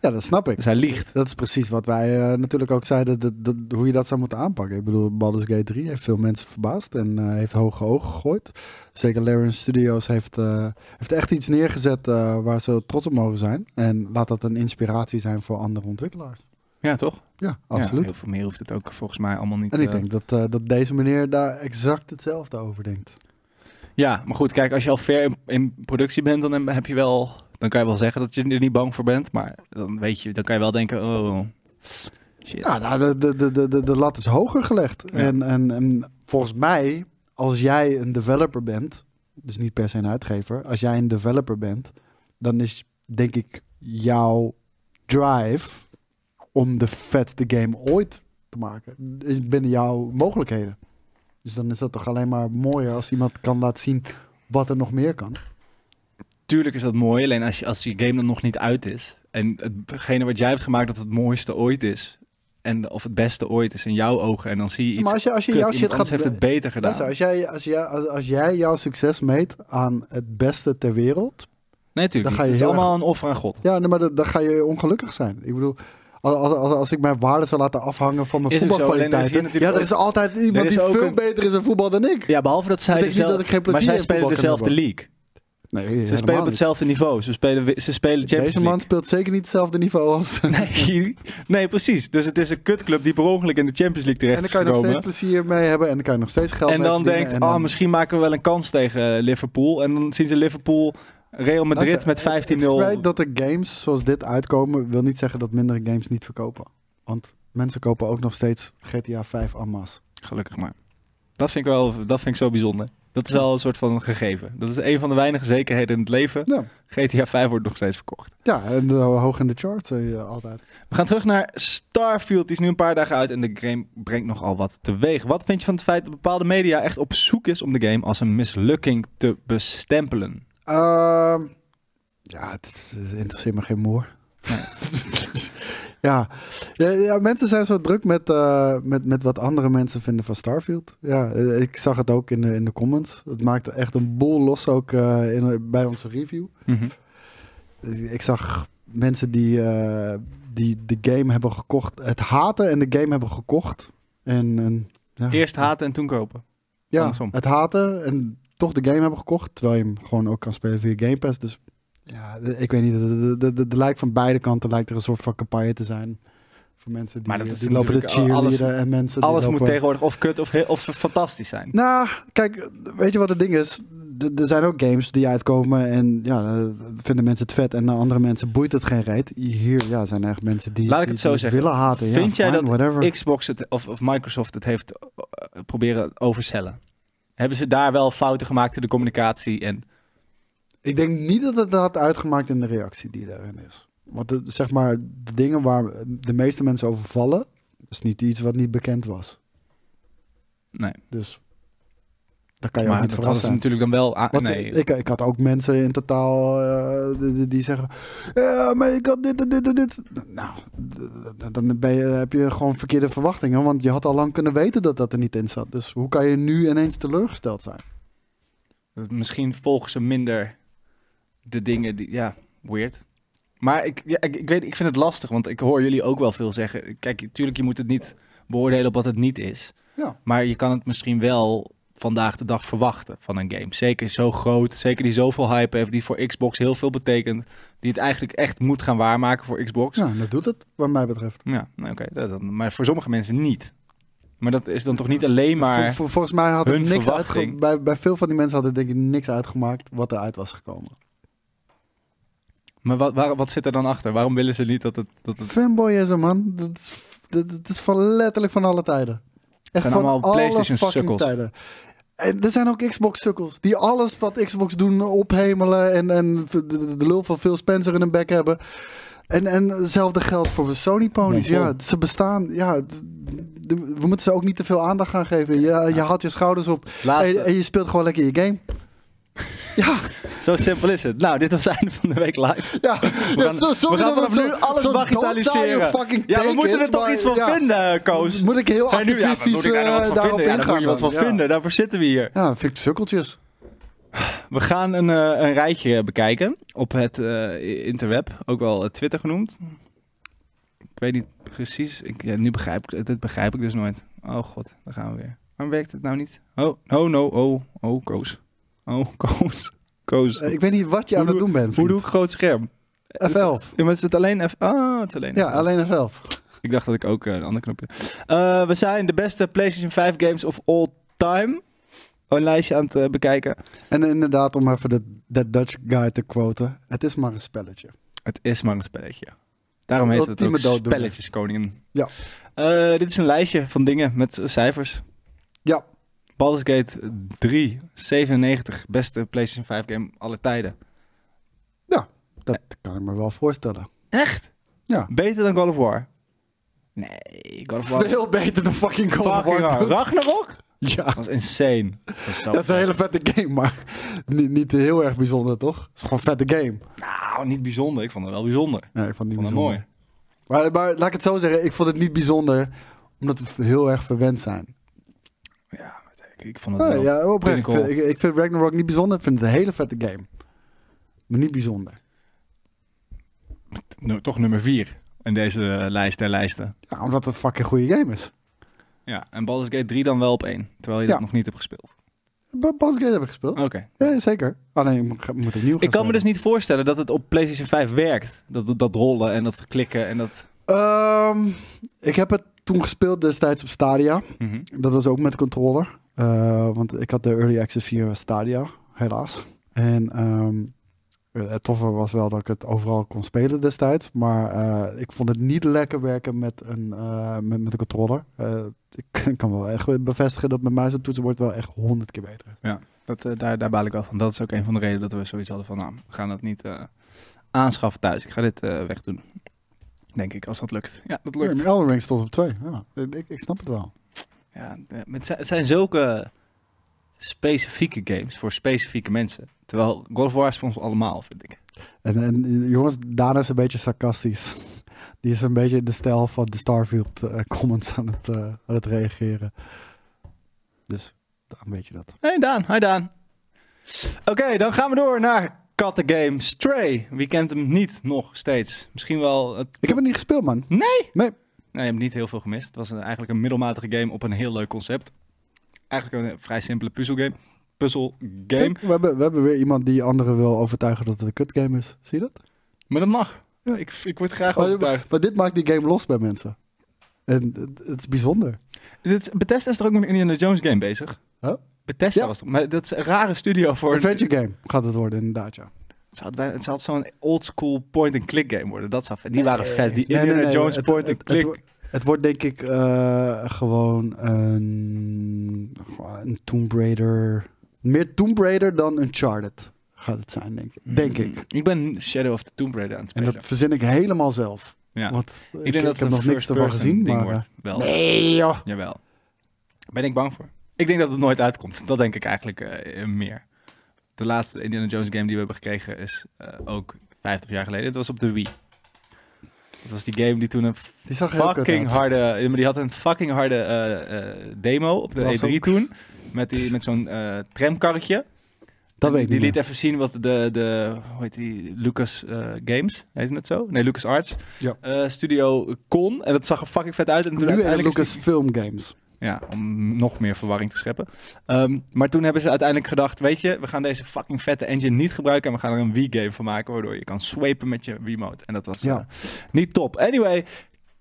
Speaker 2: Ja, dat snap ik.
Speaker 1: Dus hij liegt.
Speaker 2: Dat is precies wat wij eh, natuurlijk ook zeiden, dat, dat, hoe je dat zou moeten aanpakken. Ik bedoel, Baldur's Gate 3 heeft veel mensen verbaasd en eh, heeft hoge ogen gegooid. Zeker Larian Studios heeft, eh, heeft echt iets neergezet eh, waar ze trots op mogen zijn. En laat dat een inspiratie zijn voor andere ontwikkelaars.
Speaker 1: Ja, toch?
Speaker 2: Ja,
Speaker 1: Ja,
Speaker 2: absoluut.
Speaker 1: heel veel meer hoeft het ook volgens mij allemaal niet.
Speaker 2: en ik
Speaker 1: eh,
Speaker 2: denk dat, eh, dat deze meneer daar exact hetzelfde over denkt.
Speaker 1: Ja, maar goed, kijk, als je al ver in, in productie bent, dan heb je wel, dan kan je wel zeggen dat je er niet bang voor bent, maar dan weet je, dan kan je wel denken, oh, shit.
Speaker 2: Ja, nou, de, de, de, de, de, de lat is hoger gelegd.
Speaker 1: Ja.
Speaker 2: En, en, en volgens mij, als jij een developer bent, dus niet per se een uitgever, als jij een developer bent, dan is denk ik jouw drive om de vetste game ooit te maken binnen jouw mogelijkheden. Dus dan is dat toch alleen maar mooier als iemand kan laten zien wat er nog meer kan.
Speaker 1: Tuurlijk is dat mooi, alleen als, je, als die game dan nog niet uit is en hetgene wat jij hebt gemaakt dat het mooiste ooit is en of het beste ooit is in jouw ogen en dan zie je iets,
Speaker 2: Maar als je, als je
Speaker 1: kut,
Speaker 2: jouw
Speaker 1: iemand
Speaker 2: shit gaat...
Speaker 1: anders heeft het beter gedaan.
Speaker 2: Luister, als, jij, als, jij, als, als jij jouw succes meet aan het beste ter wereld,
Speaker 1: nee, natuurlijk niet.
Speaker 2: dan ga je
Speaker 1: Het is
Speaker 2: heel
Speaker 1: allemaal een offer aan God.
Speaker 2: Ja, nee, maar dat- dan ga je ongelukkig zijn. Ik bedoel, als, als, als, als ik mijn waarde zou laten afhangen van mijn
Speaker 1: Is ook zo, alleen er is hier
Speaker 2: voetbalkwaliteiten.
Speaker 1: natuurlijk
Speaker 2: ja, er
Speaker 1: ook-
Speaker 2: is altijd
Speaker 1: er
Speaker 2: iemand
Speaker 1: is
Speaker 2: die
Speaker 1: ook
Speaker 2: veel
Speaker 1: een-
Speaker 2: beter is in voetbal dan ik.
Speaker 1: Ja, behalve dat zij
Speaker 2: betekent niet
Speaker 1: dezelfde-
Speaker 2: dat ik
Speaker 1: maar
Speaker 2: geen plezier
Speaker 1: zij
Speaker 2: in
Speaker 1: spelen
Speaker 2: voetbal kan
Speaker 1: dezelfde league.
Speaker 2: Nee,
Speaker 1: Ze
Speaker 2: helemaal
Speaker 1: spelen op
Speaker 2: niet.
Speaker 1: hetzelfde niveau. Ze spelen, ze spelen Champions
Speaker 2: Deze
Speaker 1: League.
Speaker 2: man speelt zeker niet hetzelfde niveau als.
Speaker 1: Nee, nee, precies. Dus het is een kutclub die per ongeluk in de Champions League
Speaker 2: en
Speaker 1: terecht
Speaker 2: dan
Speaker 1: is
Speaker 2: kan je nog steeds
Speaker 1: gekomen.
Speaker 2: plezier mee hebben en dan kan je nog steeds geld
Speaker 1: En
Speaker 2: mee
Speaker 1: dan
Speaker 2: verdienen
Speaker 1: denkt,
Speaker 2: en
Speaker 1: ah,
Speaker 2: dan-
Speaker 1: misschien maken we wel een kans tegen eh, Liverpool. En dan zien ze Liverpool, Real Madrid
Speaker 2: Luister,
Speaker 1: met 15-0.
Speaker 2: eh, Het feit dat er games zoals dit uitkomen, wil niet zeggen dat mindere games niet verkopen. Want mensen kopen ook nog steeds GTA 5 en masse.
Speaker 1: Gelukkig maar. Dat vind ik wel, dat vind ik zo bijzonder. Dat is wel een soort van gegeven. Dat is een van de weinige zekerheden in het leven.
Speaker 2: Ja.
Speaker 1: GTA 5 wordt nog steeds verkocht.
Speaker 2: Ja, en eh, hoog in de charts eh, altijd.
Speaker 1: We gaan terug naar Starfield. Die is nu een paar dagen uit en de game brengt nogal wat teweeg. Wat vind je van het feit dat bepaalde media echt op zoek is om de game als een mislukking te bestempelen?
Speaker 2: Ehm, ja, het, is- het interesseert me geen moer.
Speaker 1: Nee.
Speaker 2: ja. Ja, ja, mensen zijn zo druk met, eh, met, met wat andere mensen vinden van Starfield. Ja, eh, ik zag het ook in de, in de comments. Het maakte echt een boel los ook eh, in, bij onze review. Ik ik zag mensen die, eh, die de game hebben gekocht, het haten en de game hebben gekocht. En, en, ja.
Speaker 1: Eerst haten en toen kopen.
Speaker 2: Ja,
Speaker 1: Andersom.
Speaker 2: het haten en toch de game hebben gekocht. Terwijl je hem gewoon ook kan spelen via Game Pass. Dus ja, de- ik weet niet. de- de- de- de- de lijkt van beide kanten lijkt er een soort van campagne te zijn. Voor mensen die,
Speaker 1: Maar dat is
Speaker 2: die lopen te
Speaker 1: natuurlijk al- alles-
Speaker 2: cheerleaden en mensen die
Speaker 1: Alles moet
Speaker 2: lopen-
Speaker 1: tegenwoordig of kut of, he- of fantastisch zijn.
Speaker 2: Nou, kijk, weet je wat het ding is? D- Er zijn ook games die uitkomen en ja, eh, vinden mensen het vet. En aan andere mensen boeit het geen reet. Hier ja, zijn echt mensen die,
Speaker 1: Laat ik
Speaker 2: die-
Speaker 1: het zo
Speaker 2: die
Speaker 1: zeggen.
Speaker 2: willen haten. Ja,
Speaker 1: Vind jij
Speaker 2: fine,
Speaker 1: dat
Speaker 2: whatever.
Speaker 1: Xbox het, of, of Microsoft het heeft eh, proberen overcellen. Hebben ze daar wel fouten gemaakt in de communicatie? En
Speaker 2: Ik denk niet dat het dat had uitgemaakt in de reactie die daarin is. Want de, zeg maar, de dingen waar de meeste mensen over vallen, is niet iets wat niet bekend was.
Speaker 1: nee,
Speaker 2: Dus daar kan je ook
Speaker 1: maar
Speaker 2: niet
Speaker 1: dat hadden ze
Speaker 2: verrast zijn.
Speaker 1: natuurlijk dan wel. a-
Speaker 2: Want
Speaker 1: nee,
Speaker 2: ik, ik had ook mensen in totaal eh, die, die- die zeggen, ja, maar ik had dit en dit en dit. Nou, d- d- dan ben je, heb je gewoon verkeerde verwachtingen, want je had al lang kunnen weten dat dat er niet in zat. Dus hoe kan je nu ineens teleurgesteld zijn?
Speaker 1: dat- misschien volgen ze minder de dingen die. Ja, weird. Maar ik, ja, ik, ik weet, ik vind het lastig, want ik hoor jullie ook wel veel zeggen. Kijk, tuurlijk, je moet het niet beoordelen op wat het niet is.
Speaker 2: Ja.
Speaker 1: Maar je kan het misschien wel vandaag de dag verwachten van een game. Zeker zo groot, zeker die zoveel hype heeft, die voor Xbox heel veel betekent. Die het eigenlijk echt moet gaan waarmaken voor Xbox. Ja,
Speaker 2: Ja, dat doet het, wat mij betreft.
Speaker 1: nou, oké. dat dan- Maar voor sommige mensen niet. Maar dat is dan toch niet alleen
Speaker 2: Vol-
Speaker 1: maar...
Speaker 2: vol- volgens mij had het
Speaker 1: hun
Speaker 2: niks
Speaker 1: verwachting-
Speaker 2: uitge- bij, bij veel van die mensen had het denk ik niks uitgemaakt wat eruit was gekomen.
Speaker 1: Maar wat, waar- wat zit er dan achter? Waarom willen ze niet dat het... Dat het...
Speaker 2: Fanboy is er, man. Dat is, dat, dat is van letterlijk van alle tijden. Echt
Speaker 1: zijn
Speaker 2: van
Speaker 1: allemaal
Speaker 2: alle
Speaker 1: PlayStation
Speaker 2: fucking
Speaker 1: sukkels.
Speaker 2: tijden. En er zijn ook Xbox-sukkels die alles wat Xbox doen ophemelen en, en de, de- de lul van Phil Spencer in hun bek hebben. En, en hetzelfde geldt voor Sony-ponies.
Speaker 1: Mondvol.
Speaker 2: Ja, ze bestaan. Ja, d- d- we moeten ze ook niet te veel aandacht gaan geven. Je, je haalt je schouders op
Speaker 1: Laatste,
Speaker 2: en, en je speelt gewoon lekker je game. ja,
Speaker 1: zo simpel is het. Nou, dit was het einde van de week live.
Speaker 2: ja.
Speaker 1: We gaan-
Speaker 2: zo, sorry
Speaker 1: we gaan
Speaker 2: dat
Speaker 1: vanaf
Speaker 2: het
Speaker 1: nu
Speaker 2: zo-
Speaker 1: alles
Speaker 2: zo'n
Speaker 1: bagatelliseren.
Speaker 2: doodzaaie fucking
Speaker 1: Ja, we
Speaker 2: take
Speaker 1: moeten
Speaker 2: is,
Speaker 1: er toch
Speaker 2: maar
Speaker 1: iets van
Speaker 2: ja.
Speaker 1: vinden, eh, Koos.
Speaker 2: Moet ik heel
Speaker 1: Ga je nu- ja, maar
Speaker 2: activistisch
Speaker 1: moet ik daar nou
Speaker 2: eh,
Speaker 1: wat van
Speaker 2: daarop
Speaker 1: vinden? Ja,
Speaker 2: ingaan?
Speaker 1: daar moet je wat
Speaker 2: dan.
Speaker 1: van vinden. Daarvoor zitten we hier.
Speaker 2: Ja, vind ik sukkeltjes.
Speaker 1: We gaan een, eh, een rijtje bekijken op het eh, interweb, ook wel eh, Twitter genoemd. Ik weet niet precies. Ik, ja, nu begrijp ik het. Dit begrijp ik dus nooit. Oh god, daar gaan we weer. Waarom werkt het nou niet? Oh, oh no, oh, oh, Koos. Oh, Koos. Koos.
Speaker 2: Eh, ik weet niet wat je
Speaker 1: Hoe
Speaker 2: aan het
Speaker 1: doe-
Speaker 2: doen bent.
Speaker 1: Hoe doe ik
Speaker 2: vriend.
Speaker 1: groot scherm?
Speaker 2: F11.
Speaker 1: Ja, maar is het alleen F... Ah, het is alleen
Speaker 2: Ja,
Speaker 1: F11.
Speaker 2: alleen F11.
Speaker 1: Ik dacht dat ik ook eh, een ander knopje. Eh, we zijn de beste PlayStation 5 games of all time. Een lijstje aan het eh, bekijken.
Speaker 2: En inderdaad, om even dat dat Dutch guy te quoten. Het is maar een spelletje.
Speaker 1: Het is maar een spelletje. Daarom heet het
Speaker 2: Ultieme
Speaker 1: ook
Speaker 2: dooddoener.
Speaker 1: spelletjeskoningin.
Speaker 2: Ja.
Speaker 1: Eh, dit is een lijstje van dingen met eh, cijfers.
Speaker 2: Ja.
Speaker 1: Baldur's Gate 3, 97, beste PlayStation 5 game aller tijden.
Speaker 2: Dat kan ik me wel voorstellen.
Speaker 1: Echt?
Speaker 2: Ja.
Speaker 1: Beter dan God of War? Nee, God of War. was
Speaker 2: Veel beter dan fucking Call of
Speaker 1: fucking
Speaker 2: War.
Speaker 1: hard.
Speaker 2: doet.
Speaker 1: Ragnarok?
Speaker 2: Ja,
Speaker 1: Dat was insane. Dat was zo
Speaker 2: dat is een
Speaker 1: vet.
Speaker 2: hele vette game, maar niet, niet heel erg bijzonder, toch? Het is gewoon een vette game.
Speaker 1: Nou, niet bijzonder. Ik vond het wel bijzonder. Ik
Speaker 2: Nee, ik vond het
Speaker 1: vond
Speaker 2: niet
Speaker 1: het
Speaker 2: bijzonder.
Speaker 1: mooi.
Speaker 2: Maar, maar laat ik het zo zeggen, ik vond het niet bijzonder omdat we heel erg verwend zijn.
Speaker 1: Ja, ik, ik vond het
Speaker 2: Oh, Ja,
Speaker 1: wel.
Speaker 2: ja, oprecht. Ik
Speaker 1: pinnacle.
Speaker 2: vind, ik, ik vind Ragnarok niet bijzonder. Ik vind het een hele vette game. Maar niet bijzonder.
Speaker 1: Nu- toch nummer 4 in deze eh, lijst der lijsten.
Speaker 2: Ja, omdat het een fucking goede game is.
Speaker 1: Ja, en Baldur's Gate 3 dan wel op 1. Terwijl je
Speaker 2: Ja.
Speaker 1: dat nog niet hebt gespeeld.
Speaker 2: Ba- Baldur's Gate heb ik gespeeld.
Speaker 1: Oké.
Speaker 2: Ja, zeker. Alleen, ik moet- ik moet opnieuw gaan
Speaker 1: Ik kan me
Speaker 2: spelen.
Speaker 1: dus niet voorstellen dat het op PlayStation 5 werkt. Dat, dat rollen en dat klikken en dat.
Speaker 2: Ehm, ik heb het toen gespeeld destijds op Stadia. Dat was ook met controller. Eh, want ik had de Early Access via Stadia, helaas. En ehm, het toffe was wel dat ik het overal kon spelen destijds. Maar eh, ik vond het niet lekker werken met een, eh, met, met een controller. Eh, ik kan wel echt bevestigen dat mijn muis en toetsenbord wel echt honderd keer beter is.
Speaker 1: Dat, eh, daar, daar baal ik wel van. Dat is ook een van de redenen dat we zoiets hadden van. Nou, we gaan dat niet eh, aanschaffen thuis. Ik ga dit eh, wegdoen. Denk ik, als dat lukt. Ja, dat lukt.
Speaker 2: Mijn Elden Ring stond op twee. Ja, ik, ik snap het wel.
Speaker 1: Ja, eh, maar het zijn- het zijn zulke specifieke games voor specifieke mensen. Terwijl God of War is voor ons allemaal, vind ik.
Speaker 2: En, en jongens, Dana is een beetje sarcastisch. Die is een beetje in de stijl van de Starfield eh, comments aan het, eh, aan het reageren. Dus een beetje dat.
Speaker 1: Hey Daan, hi Daan. Oké, dan gaan we door naar kattengame Stray. Wie kent hem niet nog steeds? Misschien wel... Het...
Speaker 2: Ik heb het niet gespeeld, man.
Speaker 1: Nee, je hebt niet heel veel gemist. Het was een- eigenlijk een middelmatige game op een heel leuk concept. Eigenlijk een eh, vrij simpele puzzelgame. Puzzelgame.
Speaker 2: We hebben, we hebben weer iemand die anderen wil overtuigen dat het een kutgame is. Zie je dat?
Speaker 1: Maar dat mag.
Speaker 2: Ja.
Speaker 1: Ik, ik word graag
Speaker 2: Maar-
Speaker 1: overtuigd.
Speaker 2: Maar dit maakt die game los bij mensen. En het, het is bijzonder.
Speaker 1: Dit is, Bethesda is er ook met een Indiana Jones game bezig.
Speaker 2: Huh?
Speaker 1: Bethesda
Speaker 2: Ja.
Speaker 1: was toch? Maar dat is een rare studio voor... een-
Speaker 2: Adventure game gaat het worden, inderdaad, ja.
Speaker 1: Het zou, bijna- het zou zo'n oldschool point-and-click game worden. Dat zou vet. Die waren vet. Die
Speaker 2: Nee, nee,
Speaker 1: Indiana
Speaker 2: nee,
Speaker 1: Jones
Speaker 2: het- het-
Speaker 1: point-and-click.
Speaker 2: Het, wo- het wordt denk ik eh, gewoon een, een Tomb Raider. Meer Tomb Raider dan Uncharted gaat het zijn, denk
Speaker 1: Mhm.
Speaker 2: ik. Denk ik.
Speaker 1: Ik ben Shadow of the Tomb Raider aan het
Speaker 2: En
Speaker 1: spelen.
Speaker 2: dat verzin ik helemaal zelf.
Speaker 1: ja.
Speaker 2: Want ik,
Speaker 1: ik denk dat het
Speaker 2: ik heb
Speaker 1: een
Speaker 2: nog niks ervan
Speaker 1: first-person
Speaker 2: gezien.
Speaker 1: ding
Speaker 2: Maar,
Speaker 1: wordt. Wel.
Speaker 2: eh, nee, joh.
Speaker 1: Jawel. Ben ik bang voor. Ik denk dat het nooit uitkomt. Dat denk ik eigenlijk eh, meer. De laatste Indiana Jones game die we hebben gekregen is eh, ook 50 jaar geleden. Het was op de Wii. Dat was die game die toen een
Speaker 2: Die zag heel kut
Speaker 1: fucking
Speaker 2: uit.
Speaker 1: harde... Maar die had een fucking harde eh, eh, demo op de
Speaker 2: Was
Speaker 1: E3
Speaker 2: ook-
Speaker 1: toen. Met, die- met zo'n eh, tramkarretje.
Speaker 2: Dat
Speaker 1: En
Speaker 2: weet ik
Speaker 1: Die
Speaker 2: niet
Speaker 1: liet
Speaker 2: meer.
Speaker 1: even zien wat de, de hoe heet die, Lucas eh, Games, heet het zo? Nee, Lucas Arts
Speaker 2: Ja.
Speaker 1: studio kon. En dat zag er fucking vet uit. En toen
Speaker 2: Nu en
Speaker 1: uiteindelijk is
Speaker 2: Lucas Film Games.
Speaker 1: die- Ja, om nog meer verwarring te scheppen. Ehm, maar toen hebben ze uiteindelijk gedacht, weet je, we gaan deze fucking vette engine niet gebruiken en we gaan er een Wii-game van maken, waardoor je kan swipen met je Wiimote. En dat was
Speaker 2: Ja.
Speaker 1: eh, niet top. Anyway,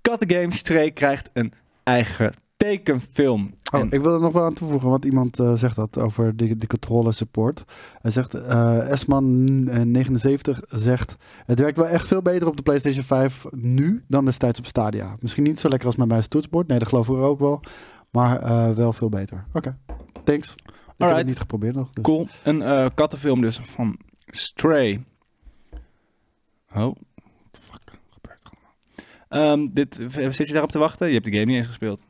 Speaker 1: Cat Games 2 krijgt een eigen tekenfilm.
Speaker 2: Oh,
Speaker 1: En-
Speaker 2: ik wil er nog wel aan toevoegen, want iemand eh, zegt dat over die, die controle support. Hij zegt, eh Esman79 zegt, het werkt wel echt veel beter op de PlayStation 5 nu dan destijds op Stadia. Misschien niet zo lekker als met mijn toetsenbord, nee, dat geloof ik ook wel. Maar eh, wel veel beter. Oké, thanks. Ik heb
Speaker 1: Alright.
Speaker 2: het niet geprobeerd nog. Dus.
Speaker 1: Cool. Een eh, kattenfilm dus van Stray. Oh, what the fuck gebeurt er allemaal? Ehm, dit, zit je daarop te wachten? Je hebt de game niet eens gespeeld.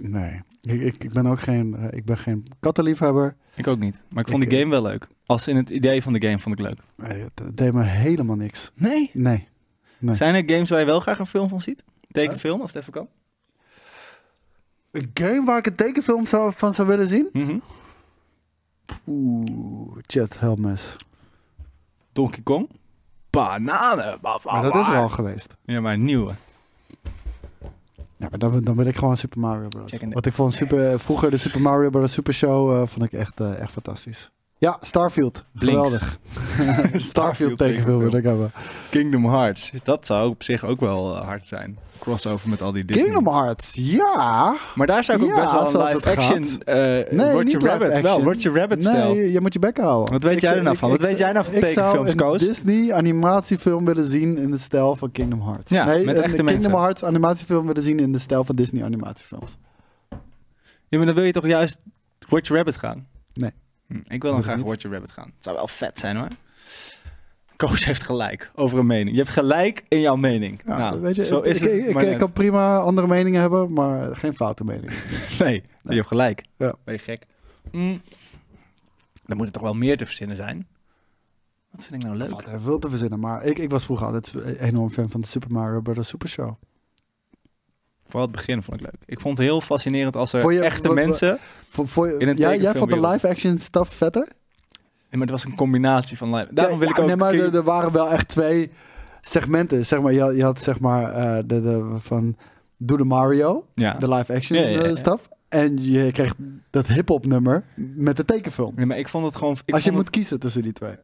Speaker 2: Nee, ik, ik, ik ben ook geen, eh, ik ben geen kattenliefhebber.
Speaker 1: Ik ook niet. Maar ik vond
Speaker 2: Ik,
Speaker 1: de
Speaker 2: eh,
Speaker 1: game wel leuk. Als in het idee van de game vond ik leuk.
Speaker 2: Eh, Het deed me helemaal niks.
Speaker 1: Nee.
Speaker 2: Nee. Nee.
Speaker 1: Zijn er games waar je wel graag een film van ziet? Tekenfilm, als het even kan.
Speaker 2: Een game waar ik een tekenfilm zou, van zou willen zien?
Speaker 1: Mhm.
Speaker 2: Oeh, chat, helmes.
Speaker 1: Donkey Kong. Bananen.
Speaker 2: Maar dat is er al geweest.
Speaker 1: Ja, maar een nieuwe.
Speaker 2: Ja, maar dan, dan ben ik gewoon Super Mario Bros.
Speaker 1: Check in de-
Speaker 2: Wat ik vond super, eh, vroeger de Super Mario Bros. Super Show eh, vond ik echt, eh, echt fantastisch. Ja, Starfield.
Speaker 1: Blinks.
Speaker 2: Geweldig. Starfield tekenfilm wil ik hebben.
Speaker 1: Kingdom Hearts. Dat zou op zich ook wel eh, hard zijn. Crossover met al die Disney.
Speaker 2: Kingdom Hearts. Ja.
Speaker 1: Maar daar zou ik ook
Speaker 2: Ja,
Speaker 1: best wel
Speaker 2: zoals
Speaker 1: een live
Speaker 2: het gaat.
Speaker 1: action... eh
Speaker 2: Nee,
Speaker 1: Roger
Speaker 2: niet live
Speaker 1: Rabbit. Wel,
Speaker 2: action.
Speaker 1: Roger Rabbit stijl.
Speaker 2: Nee, je moet je bek houden.
Speaker 1: Wat weet
Speaker 2: Ik-
Speaker 1: jij er nou
Speaker 2: ik-
Speaker 1: van? Wat
Speaker 2: ik-
Speaker 1: weet jij nou van tekenfilms,
Speaker 2: Ik zou
Speaker 1: Koos?
Speaker 2: een Disney animatiefilm willen zien in de stijl van Kingdom Hearts.
Speaker 1: Ja,
Speaker 2: nee,
Speaker 1: met
Speaker 2: een
Speaker 1: echte
Speaker 2: Kingdom
Speaker 1: mensen.
Speaker 2: Hearts animatiefilm willen zien in de stijl van Disney animatiefilms.
Speaker 1: Ja, maar dan wil je toch juist Roger Rabbit gaan?
Speaker 2: Nee.
Speaker 1: Hm, ik wil dan
Speaker 2: Moet
Speaker 1: graag
Speaker 2: niet.
Speaker 1: Roger Rabbit gaan. Het zou wel vet zijn hoor. Koos heeft gelijk over een mening. Je hebt gelijk in jouw mening.
Speaker 2: Ja,
Speaker 1: nou,
Speaker 2: weet je,
Speaker 1: zo
Speaker 2: ik,
Speaker 1: is
Speaker 2: ik,
Speaker 1: het.
Speaker 2: ik-
Speaker 1: maar
Speaker 2: ik
Speaker 1: net.
Speaker 2: kan prima andere meningen hebben, maar geen foute meningen.
Speaker 1: Nee, je hebt gelijk.
Speaker 2: Ja.
Speaker 1: Ben je gek? Mm. Dan moet er toch wel meer te verzinnen zijn? Wat vind ik nou
Speaker 2: Er
Speaker 1: leuk?
Speaker 2: valt er veel te verzinnen, maar ik, ik was vroeger altijd enorm fan van de Super Mario Bros. Super Show.
Speaker 1: Vooral het begin vond ik leuk. Ik vond het heel fascinerend als er
Speaker 2: Vond je-
Speaker 1: echte
Speaker 2: wat- wat-
Speaker 1: mensen...
Speaker 2: Voor, voor,
Speaker 1: In een
Speaker 2: jij, jij vond de
Speaker 1: tekenfilmwereld.
Speaker 2: live-action stuff vetter?
Speaker 1: Nee, maar het was een combinatie van... live- Daarom wil
Speaker 2: Ja,
Speaker 1: ik ook...
Speaker 2: Nee, maar
Speaker 1: King-
Speaker 2: er, er waren wel echt twee segmenten. Zeg maar, je, had- je had zeg maar eh, de, de, van Doe de Mario,
Speaker 1: ja.
Speaker 2: de live-action
Speaker 1: Ja, ja, ja,
Speaker 2: eh,
Speaker 1: ja.
Speaker 2: stuff. En je kreeg dat hip-hop nummer met de tekenfilm.
Speaker 1: Nee, maar ik vond het gewoon... Ik
Speaker 2: Als je
Speaker 1: vond
Speaker 2: moet kiezen tussen die twee.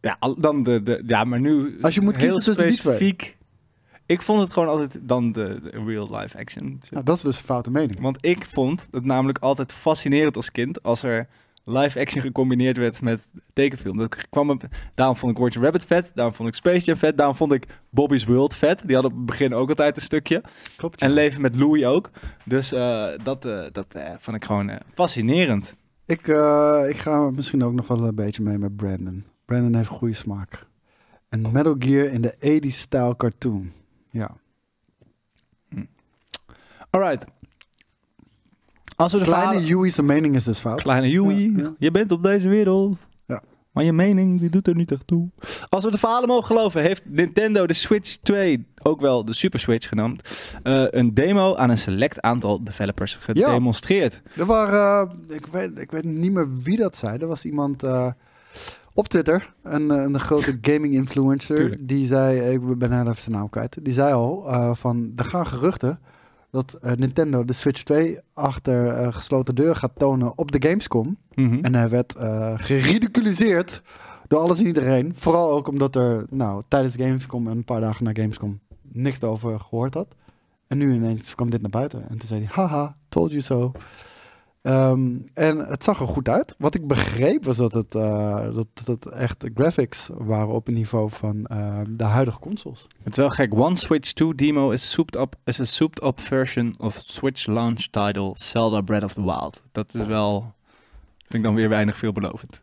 Speaker 1: Ja, al- dan de, de, ja, maar nu
Speaker 2: Als je moet
Speaker 1: heel
Speaker 2: kiezen tussen die twee.
Speaker 1: specifiek. Ik vond het gewoon altijd dan de, de real life action.
Speaker 2: Nou, dat is dus een foute mening.
Speaker 1: Want ik vond het namelijk altijd fascinerend als kind als er live action gecombineerd werd met tekenfilm. Dat kwam op- daarom vond ik Roger Rabbit vet, daarom vond ik Space Jam vet, daarom vond ik Bobby's World vet. Die hadden op het begin ook altijd een stukje.
Speaker 2: Klopt.
Speaker 1: En Leven met Louie ook. Dus eh, dat, eh, dat eh, vond ik gewoon eh, fascinerend.
Speaker 2: Ik, eh, ik ga misschien ook nog wel een beetje mee met Brandon. Brandon heeft goede smaak.
Speaker 1: Oh.
Speaker 2: Een Metal Gear in de 80s-stijl cartoon. Ja.
Speaker 1: Alright. Als we de verhalen-
Speaker 2: Kleine Huey's mening is dus fout.
Speaker 1: Kleine Joey,
Speaker 2: Ja, ja.
Speaker 1: je bent op deze wereld.
Speaker 2: Ja.
Speaker 1: Maar je mening die doet er niet echt toe. Als we de verhalen mogen geloven, heeft Nintendo de Switch 2, ook wel de Super Switch genaamd, eh, een demo aan een select aantal developers gedemonstreerd.
Speaker 2: Er waren, eh, ik, weet, ik weet niet meer wie dat zei. Er was iemand eh, op Twitter, een, eh, een grote gaming influencer,
Speaker 1: Tuurlijk.
Speaker 2: die zei, ik ben haar even zijn naam kwijt, die zei al eh, van, er gaan geruchten dat eh, Nintendo de Switch 2 achter eh, gesloten deur gaat tonen op de Gamescom.
Speaker 1: Mhm.
Speaker 2: En hij werd eh geridiculiseerd door alles en iedereen. Vooral ook omdat er nou, tijdens Gamescom en een paar dagen na Gamescom niks over gehoord had. En nu ineens kwam dit naar buiten. En toen zei hij, haha, told you so. Ehm, en het zag er goed uit. Wat ik begreep was dat het, eh, dat, dat echt graphics waren op het niveau van eh, de huidige consoles.
Speaker 1: Het is wel gek. One Switch 2 demo is, souped up, is a souped up version of Switch launch title Zelda Breath of the Wild. Dat is wel, vind ik dan weer weinig veelbelovend.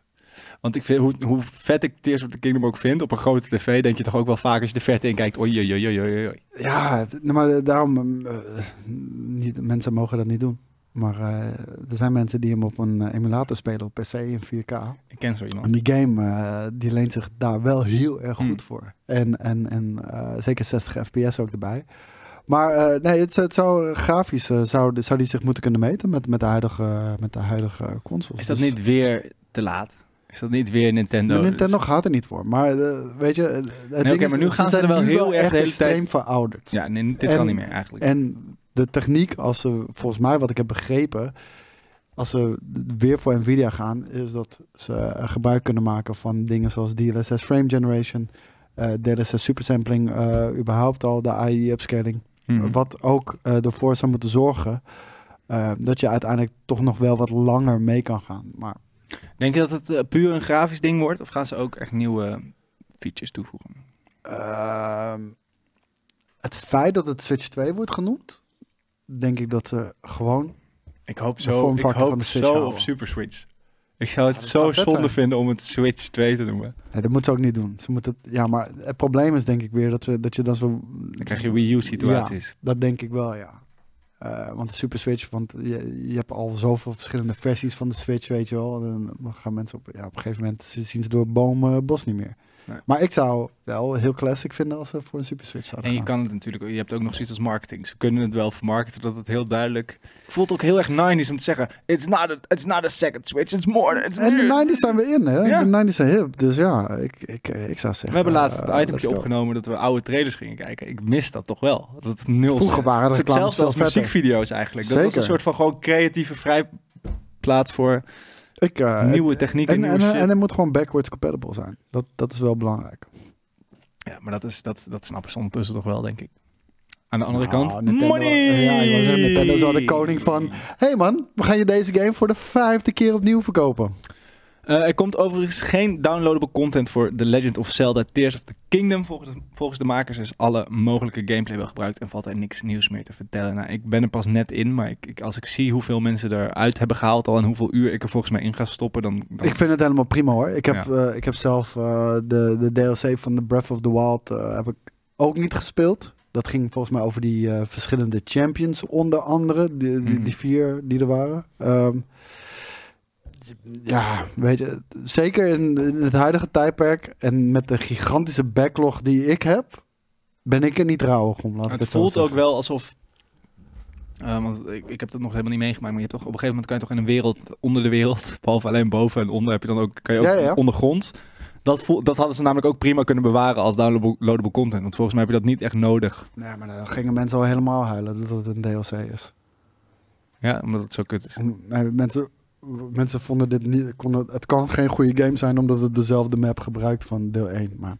Speaker 1: Want ik vind, hoe, hoe vet ik Tears of the Kingdom ook vind, op een grote tv denk je toch ook wel vaak als je de verte in kijkt, oei, oei, oei, oei, oei, oei.
Speaker 2: Ja, d- nou, maar daarom, eh, niet, mensen mogen dat niet doen. Maar eh, er zijn mensen die hem op een eh, emulator spelen op PC in 4K.
Speaker 1: Ik ken zo iemand.
Speaker 2: En die game eh, die leent zich daar wel heel erg goed
Speaker 1: Hmm.
Speaker 2: voor. En, en, en eh, zeker 60 fps ook erbij. Maar eh, nee, het, het zou grafisch eh, zou, zou die zich moeten kunnen meten met, met, de, huidige, met de huidige consoles.
Speaker 1: Is dat
Speaker 2: Dus-
Speaker 1: niet weer te laat? Is dat niet weer Nintendo?
Speaker 2: maar Nintendo gaat er niet voor. Maar eh, weet je, eh, het ding
Speaker 1: oké,
Speaker 2: is,
Speaker 1: maar nu gaan ze
Speaker 2: zijn
Speaker 1: er wel
Speaker 2: nu
Speaker 1: heel erg de hele
Speaker 2: extreem
Speaker 1: tijd-
Speaker 2: verouderd.
Speaker 1: Dus, Ja, nee, dit
Speaker 2: En-
Speaker 1: kan niet meer eigenlijk.
Speaker 2: En de techniek, als ze, volgens mij wat ik heb begrepen, als ze weer voor Nvidia gaan, is dat ze eh, gebruik kunnen maken van dingen zoals DLSS frame generation, eh, DLSS supersampling, eh überhaupt al de AI upscaling.
Speaker 1: Mhm. Hmm.
Speaker 2: Wat ook eh, ervoor zou moeten zorgen eh, dat je uiteindelijk toch nog wel wat langer mee kan gaan. Maar
Speaker 1: Denk je dat het eh, puur een grafisch ding wordt? Of gaan ze ook echt nieuwe features toevoegen?
Speaker 2: Ehm, het feit dat het Switch 2 wordt genoemd, denk ik dat ze gewoon.
Speaker 1: Ik hoop
Speaker 2: De
Speaker 1: zo, ik
Speaker 2: vormfactor van
Speaker 1: hoop
Speaker 2: de Switch
Speaker 1: zo
Speaker 2: houden.
Speaker 1: op Super Switch. Ik zou het
Speaker 2: Ja, dat
Speaker 1: zo
Speaker 2: zou vet
Speaker 1: zonde
Speaker 2: zijn.
Speaker 1: vinden om het Switch 2 te noemen.
Speaker 2: Nee, dat moeten ze ook niet doen. Ze moeten, ja, maar het probleem is denk ik weer dat, we, dat je dan zo.
Speaker 1: Dan krijg je Wii U situaties.
Speaker 2: Dat denk ik wel, ja. Eh, want de Super Switch, want je, je hebt al zoveel verschillende versies van de Switch, weet je wel. En dan gaan mensen op, ja, op een gegeven moment ze- zien ze door bomen bos niet meer.
Speaker 1: Nee.
Speaker 2: Maar ik zou wel heel classic vinden als ze voor een Super Switch zouden
Speaker 1: En je
Speaker 2: gaan.
Speaker 1: kan het natuurlijk, je hebt ook nog zoiets als marketing. Ze kunnen het wel vermarkten dat het heel duidelijk. Ik voel het ook heel erg 90s om te zeggen: It's not a, it's not a second Switch, it's more. than- It's
Speaker 2: En de 90s zijn we in, hè?
Speaker 1: Ja.
Speaker 2: De 90s zijn hip. Dus ja, ik, ik, ik zou zeggen.
Speaker 1: We hebben laatst
Speaker 2: eh,
Speaker 1: het
Speaker 2: let's
Speaker 1: itempje
Speaker 2: go.
Speaker 1: opgenomen dat we oude trailers gingen kijken. Ik mis dat toch wel. Dat het nul
Speaker 2: Vroeger waren de
Speaker 1: Het is
Speaker 2: reclames
Speaker 1: hetzelfde
Speaker 2: veel
Speaker 1: als
Speaker 2: vetter.
Speaker 1: muziekvideo's eigenlijk. Dat was
Speaker 2: Zeker.
Speaker 1: een soort van gewoon creatieve vrijplaats voor
Speaker 2: Ik, eh,
Speaker 1: nieuwe technieken,
Speaker 2: en,
Speaker 1: nieuwe
Speaker 2: en,
Speaker 1: shit.
Speaker 2: en, het moet gewoon backwards compatible zijn. Dat, dat is wel belangrijk.
Speaker 1: ja, maar dat, is, dat, dat snappen ze ondertussen toch wel, denk ik. Aan de andere
Speaker 2: Nou,
Speaker 1: kant,
Speaker 2: Nintendo-
Speaker 1: money!
Speaker 2: Ja, ik wou zeggen, Nintendo is wel de koning van- Hé hey man, we gaan je deze game voor de vijfde keer opnieuw verkopen.
Speaker 1: Eh, er komt overigens geen downloadable content voor The Legend of Zelda Tears of the Kingdom. Volgens, volgens de makers is alle mogelijke gameplay wel gebruikt en valt er niks nieuws meer te vertellen. Nou, ik ben er pas net in, maar ik, ik- als ik zie hoeveel mensen eruit hebben gehaald al en hoeveel uur ik er volgens mij in ga stoppen, dan... dan-
Speaker 2: Ik vind het helemaal prima hoor. Ik heb,
Speaker 1: Ja.
Speaker 2: eh, ik heb zelf eh, de, de DLC van The Breath of the Wild eh, heb ik ook niet gespeeld. Dat ging volgens mij over die eh, verschillende champions, onder andere. Die, die,
Speaker 1: Mhm.
Speaker 2: die vier die er waren. Ehm, ja, weet je, zeker in, in het huidige tijdperk en met de gigantische backlog die ik heb, ben ik er niet rouwig om. Laat ik
Speaker 1: het
Speaker 2: het zo
Speaker 1: voelt ook
Speaker 2: zeggen.
Speaker 1: wel alsof... eh, want ik, ik heb dat nog helemaal niet meegemaakt, maar je hebt toch, op een gegeven moment kan je toch in een wereld, onder de wereld, behalve alleen boven en onder, heb je dan ook, kan je ook
Speaker 2: Ja, ja.
Speaker 1: ondergronds. Dat, voel, dat hadden ze namelijk ook prima kunnen bewaren als downloadable content. Want volgens mij heb je dat niet echt nodig.
Speaker 2: Nee, maar dan gingen mensen al helemaal huilen dat het een DLC is.
Speaker 1: Ja, omdat het zo kut is.
Speaker 2: Nee, mensen, mensen vonden dit niet. Konden, het kan geen goede game zijn omdat het dezelfde map gebruikt van deel 1. Maar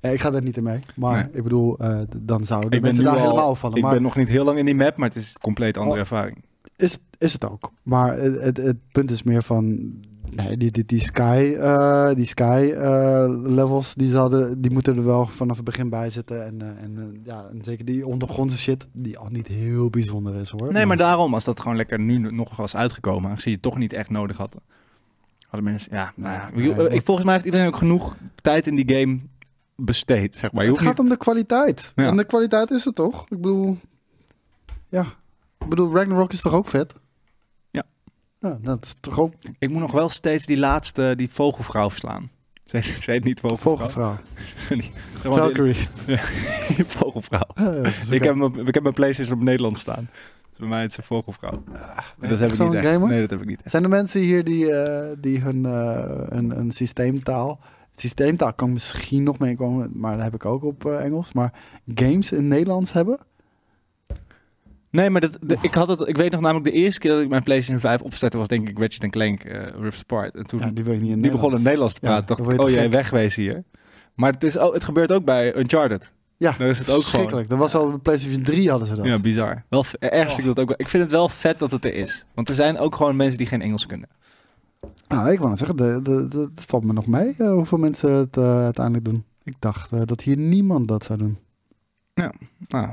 Speaker 2: eh, ik ga daar niet in mee. Maar
Speaker 1: Nee.
Speaker 2: ik bedoel, eh, d- dan zouden
Speaker 1: Ik ben
Speaker 2: mensen
Speaker 1: nu
Speaker 2: daar
Speaker 1: al-
Speaker 2: helemaal vallen.
Speaker 1: Ik
Speaker 2: Maar
Speaker 1: ben nog niet heel lang in die map, maar het is een compleet andere
Speaker 2: Oh.
Speaker 1: ervaring.
Speaker 2: is, is het ook. Maar het, het, het punt is meer van. Nee, die, die, die sky, eh, die sky eh, levels, die, zouden, die moeten er wel vanaf het begin bij zitten. En, eh, en, eh, ja, en zeker die ondergrondse shit, die al niet heel bijzonder is hoor.
Speaker 1: Nee, maar daarom, als dat gewoon lekker nu nog was uitgekomen, aangezien je het toch niet echt nodig had, hadden mensen, ja, nou ja.
Speaker 2: Ja,
Speaker 1: Ik bedoel,
Speaker 2: nee,
Speaker 1: eh, ik, volgens mij heeft iedereen ook genoeg tijd in die game besteed, zeg maar. Je
Speaker 2: het
Speaker 1: hoeft
Speaker 2: gaat
Speaker 1: niet...
Speaker 2: om de kwaliteit.
Speaker 1: Ja.
Speaker 2: En de kwaliteit is het toch? Ik bedoel, ja. Ik bedoel, Ragnarok is toch ook vet?
Speaker 1: Ja.
Speaker 2: Ja, dat is toch ook
Speaker 1: Ik moet nog wel steeds die laatste, die vogelvrouw verslaan. Ze heet, ze heet niet vogelvrouw.
Speaker 2: vogelvrouw.
Speaker 1: Gewoon die-
Speaker 2: Valkyrie.
Speaker 1: die vogelvrouw.
Speaker 2: Ja, dat is
Speaker 1: Dus Ik
Speaker 2: ook-
Speaker 1: heb, hem op, ik heb mijn PlayStation op Nederland staan. Dus bij mij is het een vogelvrouw.
Speaker 2: Ah, ben
Speaker 1: dat
Speaker 2: je
Speaker 1: heb
Speaker 2: echt
Speaker 1: ik niet
Speaker 2: zo'n
Speaker 1: echt.
Speaker 2: gamer?
Speaker 1: Nee, dat heb ik niet echt.
Speaker 2: Zijn er mensen hier die, eh, die hun eh, een, een systeemtaal... Systeemtaal kan misschien nog meekomen, maar dat heb ik ook op eh, Engels. Maar games in Nederlands hebben?
Speaker 1: Nee, maar dat, de- ik, had het, ik weet nog namelijk de eerste keer dat ik mijn PlayStation 5 opzette was denk ik Ratchet Clank eh Rift Apart. En toen,
Speaker 2: Ja,
Speaker 1: die,
Speaker 2: die wil je niet in
Speaker 1: begon in het Nederlands
Speaker 2: Nederlands.
Speaker 1: te
Speaker 2: Ja,
Speaker 1: praten.
Speaker 2: dan
Speaker 1: dacht ik,
Speaker 2: word je
Speaker 1: oh
Speaker 2: te
Speaker 1: jij
Speaker 2: gek.
Speaker 1: wegwezen hier. Maar het, is, oh, het gebeurt ook bij Uncharted.
Speaker 2: Ja,
Speaker 1: Daar is het ook gewoon.
Speaker 2: verschrikkelijk. Dat was al bij PlayStation 3 hadden ze dat. Oh.
Speaker 1: Ja, bizar. Wel, v- ergens vind ik dat ook wel. Ik vind het wel vet dat het er is. Want er zijn ook gewoon mensen die geen Engels kunnen.
Speaker 2: Nou, ik wou net zeggen, de- de- de- het valt me nog mee eh, hoeveel mensen het eh, uiteindelijk doen. Ik dacht eh, dat hier niemand dat zou doen.
Speaker 1: Nou,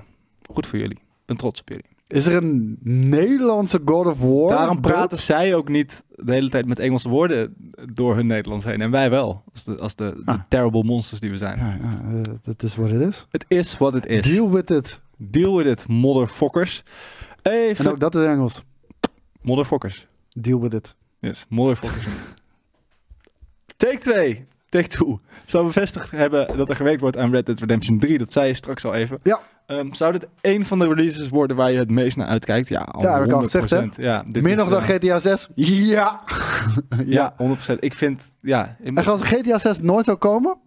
Speaker 1: goed voor jullie. Ik ben trots op jullie.
Speaker 2: Is er een Nederlandse God of War?
Speaker 1: Daarom
Speaker 2: Dat-
Speaker 1: praten zij ook niet de hele tijd met Engelse woorden door hun Nederlands heen. En wij wel. Als de, als de, de
Speaker 2: Ah.
Speaker 1: terrible monsters die we zijn.
Speaker 2: Ja, ja, eh, dat is wat het is.
Speaker 1: Het is wat het is.
Speaker 2: Deal with it.
Speaker 1: Deal with it, motherfuckers. Even.
Speaker 2: En ook dat is Engels.
Speaker 1: Motherfuckers.
Speaker 2: Deal with it.
Speaker 1: Yes, motherfuckers. Take 2. Take 2. Zou bevestigd hebben dat er gewerkt wordt aan Red Dead Redemption 3. Dat zei je straks al even.
Speaker 2: Ja.
Speaker 1: Ehm, zou dit één van de releases worden waar je het meest naar uitkijkt? Ja, al
Speaker 2: Ja, heb ik al gezegd, hè?
Speaker 1: 100%. Ja, dit
Speaker 2: Meer nog
Speaker 1: is,
Speaker 2: dan
Speaker 1: eh,
Speaker 2: GTA 6? Ja! ja.
Speaker 1: Ja, 100%. Ik vind, ja... in-
Speaker 2: En als GTA 6 nooit zou komen,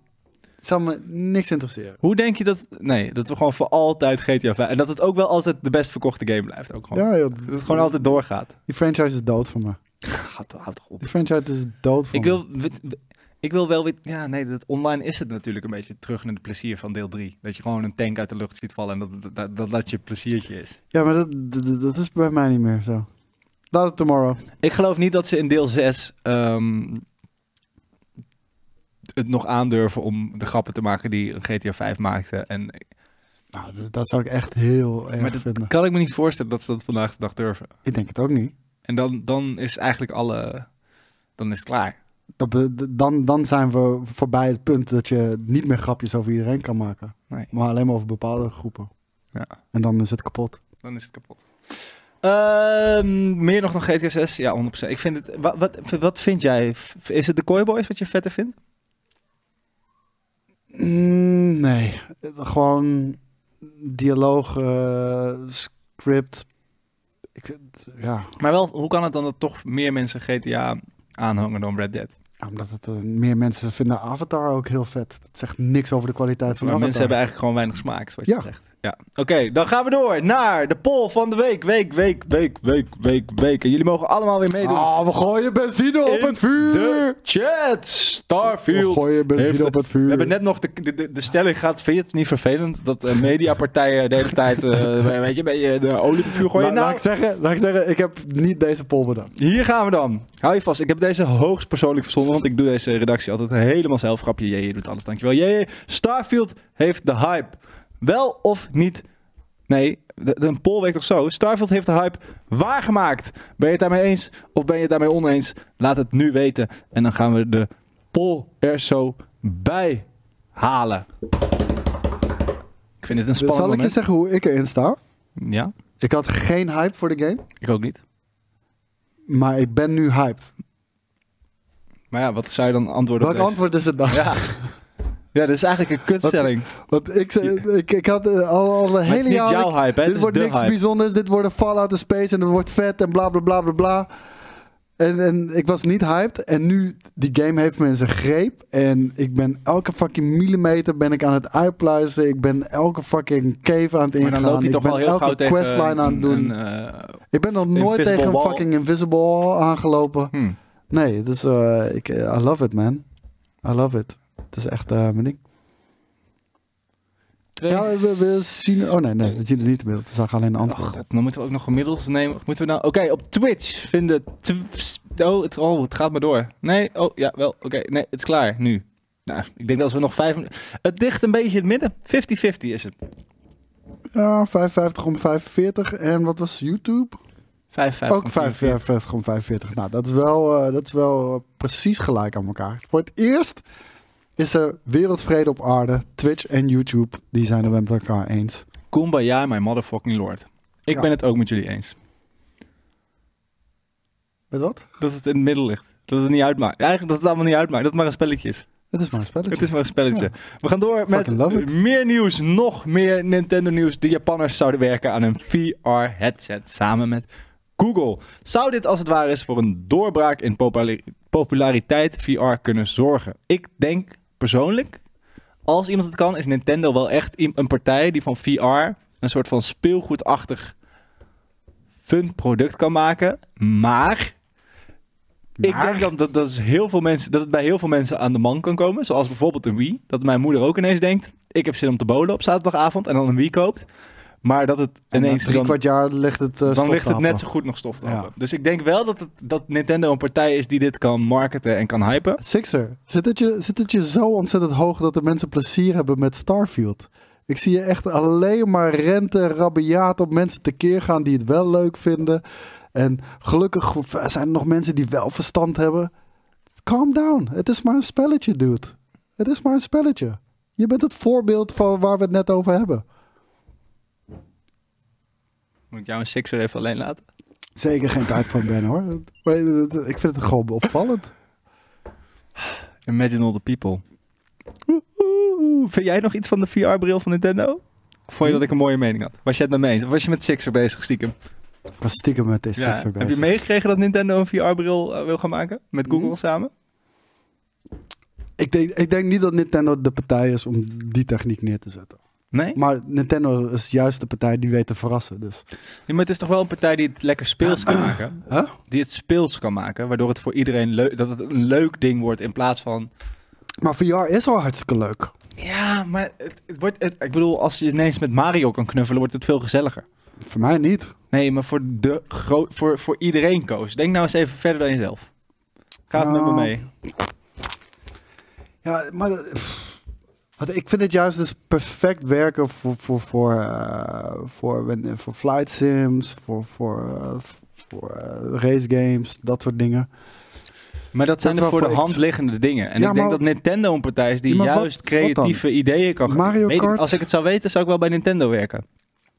Speaker 2: Het zal me niks interesseren.
Speaker 1: Hoe denk je dat... Nee, dat we gewoon voor altijd GTA 5... En dat het ook wel altijd de best verkochte game blijft. Ook gewoon.
Speaker 2: Ja, joh,
Speaker 1: Dat het gewoon altijd doorgaat.
Speaker 2: Die franchise is dood voor me.
Speaker 1: Gaat, houd toch op.
Speaker 2: Die franchise is dood voor
Speaker 1: Ik
Speaker 2: me.
Speaker 1: wil, wit- w- ik wil wel weer... Ja, nee, dat online is het natuurlijk een beetje terug naar het plezier van deel 3. Dat je gewoon een tank uit de lucht ziet vallen en dat dat, dat, dat je pleziertje is.
Speaker 2: Ja, maar dat, dat, dat is bij mij niet meer zo. Laat het tomorrow.
Speaker 1: Ik geloof niet dat ze in deel 6 het nog aandurven om de grappen te maken die een GTA 5 maakte. En
Speaker 2: Nou, dat zou ik echt heel erg
Speaker 1: Maar dat-
Speaker 2: vinden.
Speaker 1: kan ik me niet voorstellen dat ze dat vandaag de dag durven.
Speaker 2: Ik denk het ook niet.
Speaker 1: En dan, dan is eigenlijk alle... Dan is het klaar.
Speaker 2: Dat be- d- dan, dan zijn we voorbij het punt dat je niet meer grapjes over iedereen kan maken.
Speaker 1: Nee.
Speaker 2: Maar alleen maar over bepaalde groepen.
Speaker 1: Ja.
Speaker 2: En dan is het kapot.
Speaker 1: Dan is het kapot. Ehm, meer nog dan GTA 6? Ja, 100%. Ik vind het, wat, wat, wat vind jij? F- Is het de Koi Boys wat je vetter vindt?
Speaker 2: Mm, nee, Het- gewoon dialoog, eh, script. Ik, ja,
Speaker 1: Maar wel, hoe kan het dan dat toch meer mensen GTA aanhangen dan Red Dead?
Speaker 2: omdat het, eh, meer mensen vinden Avatar ook heel vet. Dat zegt niks over de kwaliteit van
Speaker 1: Maar
Speaker 2: Avatar.
Speaker 1: mensen hebben eigenlijk gewoon weinig smaak, zoals
Speaker 2: Ja.
Speaker 1: je zegt. Ja. Oké, dan gaan we door naar de poll van de week. Week, week, week, week, week, week. En jullie mogen allemaal weer meedoen.
Speaker 2: Ah, we gooien benzine op
Speaker 1: In
Speaker 2: het vuur!
Speaker 1: De chat!
Speaker 2: we
Speaker 1: Starfield
Speaker 2: gooien benzine
Speaker 1: heeft-
Speaker 2: op het vuur.
Speaker 1: We hebben net nog de, de, de, de stelling gehad. Vind je het niet vervelend dat eh, mediapartijen de hele tijd eh, weet je, ben je de olie op het vuur gooien?
Speaker 2: La- laat,
Speaker 1: Nou,
Speaker 2: ik zeggen, laat ik zeggen, ik heb niet deze poll bedacht.
Speaker 1: hier gaan we dan. Hou je vast. Ik heb deze hoogst persoonlijk verzonnen, want ik doe deze redactie altijd helemaal zelf. Grapje, jee, je doet alles, dankjewel. Jee, jee. Starfield heeft de hype. Wel of niet? Nee, de, de- een poll weet toch zo? Starfield heeft de hype waargemaakt. Ben je het daarmee eens of ben je het daarmee oneens? Laat het nu weten en dan gaan we de poll er zo bij halen. Ik vind dit een spannend
Speaker 2: Zal ik je
Speaker 1: moment.
Speaker 2: zeggen hoe ik erin sta?
Speaker 1: Ja,
Speaker 2: Ik had geen hype voor de game,
Speaker 1: ik ook niet.
Speaker 2: maar ik ben nu hyped.
Speaker 1: Maar ja, wat zou je dan antwoorden
Speaker 2: Welk
Speaker 1: op deze?
Speaker 2: antwoord is het dan?
Speaker 1: Ja. ja, dat is eigenlijk een kutstelling.
Speaker 2: Want ik, ze- ik, ik had eh, al, al de
Speaker 1: Maar het
Speaker 2: hele
Speaker 1: is niet
Speaker 2: jaar...
Speaker 1: jouw hype, hè?
Speaker 2: dit
Speaker 1: Het is
Speaker 2: wordt
Speaker 1: de
Speaker 2: niks
Speaker 1: hype.
Speaker 2: bijzonders, dit wordt een Fallout in Space en het wordt vet en bla bla bla bla bla. En, en ik was niet hyped en nu, die game heeft me in zijn greep. En ik ben elke fucking millimeter ben ik aan het uitpluizen. Ik ben elke fucking cave aan het ingaan.
Speaker 1: Maar dan loop je
Speaker 2: ik
Speaker 1: toch
Speaker 2: ben
Speaker 1: al heel
Speaker 2: elke
Speaker 1: gauw tegen
Speaker 2: questline
Speaker 1: een-
Speaker 2: aan het doen.
Speaker 1: een, eh,
Speaker 2: ik ben nog nooit
Speaker 1: invisible
Speaker 2: tegen een
Speaker 1: wall.
Speaker 2: fucking invisible wall aangelopen.
Speaker 1: hmm.
Speaker 2: Nee, het is, eh, ik, eh, I love it man. I love it. Het is echt eh, mijn ding.
Speaker 1: Twee.
Speaker 2: Ja, we, we zien. Oh nee, nee, we zien het niet in beeld. We zagen alleen een
Speaker 1: Och,
Speaker 2: antwoord.
Speaker 1: God, dan moeten we ook nog gemiddeld nemen. Of Moeten we nou... Oké, op Twitch vinden... tw- Oh het, oh, het gaat maar door. Nee, oh, ja, wel. Oké, nee, het is klaar, nu. Nou, ik denk dat als we nog vijf... minuten- Het ligt een beetje in het midden. 50-50 is het.
Speaker 2: Ja, 55 om 45. En wat was YouTube?
Speaker 1: 55.
Speaker 2: Ook 55 om 45. Nou, dat is wel, eh, dat is wel eh, precies gelijk aan elkaar. Voor het eerst is er wereldvrede op aarde. Twitch en YouTube, die zijn het met elkaar eens.
Speaker 1: Kumbaya, my motherfucking lord. Ik
Speaker 2: Ja.
Speaker 1: ben het ook met jullie eens.
Speaker 2: Weet wat?
Speaker 1: Dat het in het midden ligt. Dat het niet uitmaakt. Eigenlijk dat het allemaal niet uitmaakt. Dat het maar een spelletje is.
Speaker 2: Het is maar een spelletje.
Speaker 1: Het is maar een spelletje. We gaan door
Speaker 2: Fucking love
Speaker 1: met
Speaker 2: it.
Speaker 1: meer nieuws, nog meer Nintendo nieuws. De Japanners zouden werken aan een VR headset samen met Google. Zou dit als het ware is voor een doorbraak in populari- populariteit VR kunnen zorgen? Ik denk persoonlijk, als iemand het kan, is Nintendo wel echt i- een partij die van VR een soort van speelgoedachtig fun product kan maken. Maar ik denk dat, dat, dat, is heel veel mensen, dat het bij heel veel mensen aan de man kan komen. Zoals bijvoorbeeld een Wii. Dat mijn moeder ook ineens denkt: ik heb zin om te bowlen op zaterdagavond en dan een Wii koopt. Maar dat het
Speaker 2: En na
Speaker 1: ineens
Speaker 2: drie
Speaker 1: dan,
Speaker 2: kwart jaar ligt het. eh,
Speaker 1: dan
Speaker 2: stof
Speaker 1: ligt
Speaker 2: te
Speaker 1: het net
Speaker 2: happen.
Speaker 1: zo goed nog stof te
Speaker 2: Ja.
Speaker 1: happen. Dus ik denk wel dat, het, dat Nintendo een partij is die dit kan marketen en kan hypen.
Speaker 2: Sixer, zit het, je, zit het je zo ontzettend hoog dat de mensen plezier hebben met Starfield? Ik zie je echt alleen maar rente, rabiaat op mensen tekeer gaan die het wel leuk vinden. En gelukkig zijn er nog mensen die wel verstand hebben. Calm down, het is maar een spelletje, dude. Het is maar een spelletje. Je bent het voorbeeld van waar we het net over hebben.
Speaker 1: Moet ik jou een Sixer even alleen laten?
Speaker 2: Zeker geen tijd voor Ben hoor. Maar eh, Ik vind het gewoon opvallend.
Speaker 1: Imagine all the people. Oeh, oeh, oeh. Vind jij nog iets van de VR-bril van Nintendo? Of vond je dat ik een mooie mening had? Was je het met me eens? Of was je met Sixer bezig stiekem?
Speaker 2: Ik was stiekem met deze
Speaker 1: Ja,
Speaker 2: Sixer
Speaker 1: Heb je
Speaker 2: bezig.
Speaker 1: eh, meegekregen dat Nintendo een VR-bril wil gaan maken? Met Google
Speaker 2: Mhm.
Speaker 1: samen?
Speaker 2: Ik Ik denk, ik denk niet dat Nintendo de partij is om die techniek neer te zetten.
Speaker 1: Nee?
Speaker 2: Maar Nintendo is juist de partij die weet te verrassen. Dus.
Speaker 1: Ja, maar het is toch wel een partij die het lekker speels kan maken.
Speaker 2: Huh?
Speaker 1: Die het speels kan maken, waardoor het voor iedereen leuk... Dat het een leuk ding wordt in plaats van...
Speaker 2: Maar VR is al hartstikke leuk.
Speaker 1: Ja, maar het, het wordt... Het, ik bedoel, als je ineens met Mario kan knuffelen, wordt het veel gezelliger.
Speaker 2: Voor mij niet.
Speaker 1: Nee, maar voor, de gro- voor, voor iedereen koos. Denk nou eens even verder dan jezelf. Ga het met me
Speaker 2: Nou,
Speaker 1: mee.
Speaker 2: Ja, maar dat- pff. Want ik vind het juist dus perfect werken voor, voor, voor, eh, voor, wen- voor flight sims, voor, voor, eh, voor eh, race games, dat soort dingen.
Speaker 1: Maar dat zijn
Speaker 2: Dat
Speaker 1: de
Speaker 2: is wel
Speaker 1: voor de
Speaker 2: voor
Speaker 1: hand
Speaker 2: iets.
Speaker 1: liggende dingen. En
Speaker 2: Ja,
Speaker 1: ik denk
Speaker 2: maar-
Speaker 1: dat Nintendo een partij is die
Speaker 2: Ja, maar wat-
Speaker 1: juist
Speaker 2: wat dan?
Speaker 1: creatieve ideeën kan gaan-
Speaker 2: Mario
Speaker 1: Weet ik-
Speaker 2: Kart?
Speaker 1: Als ik het zou weten, zou ik wel bij Nintendo werken.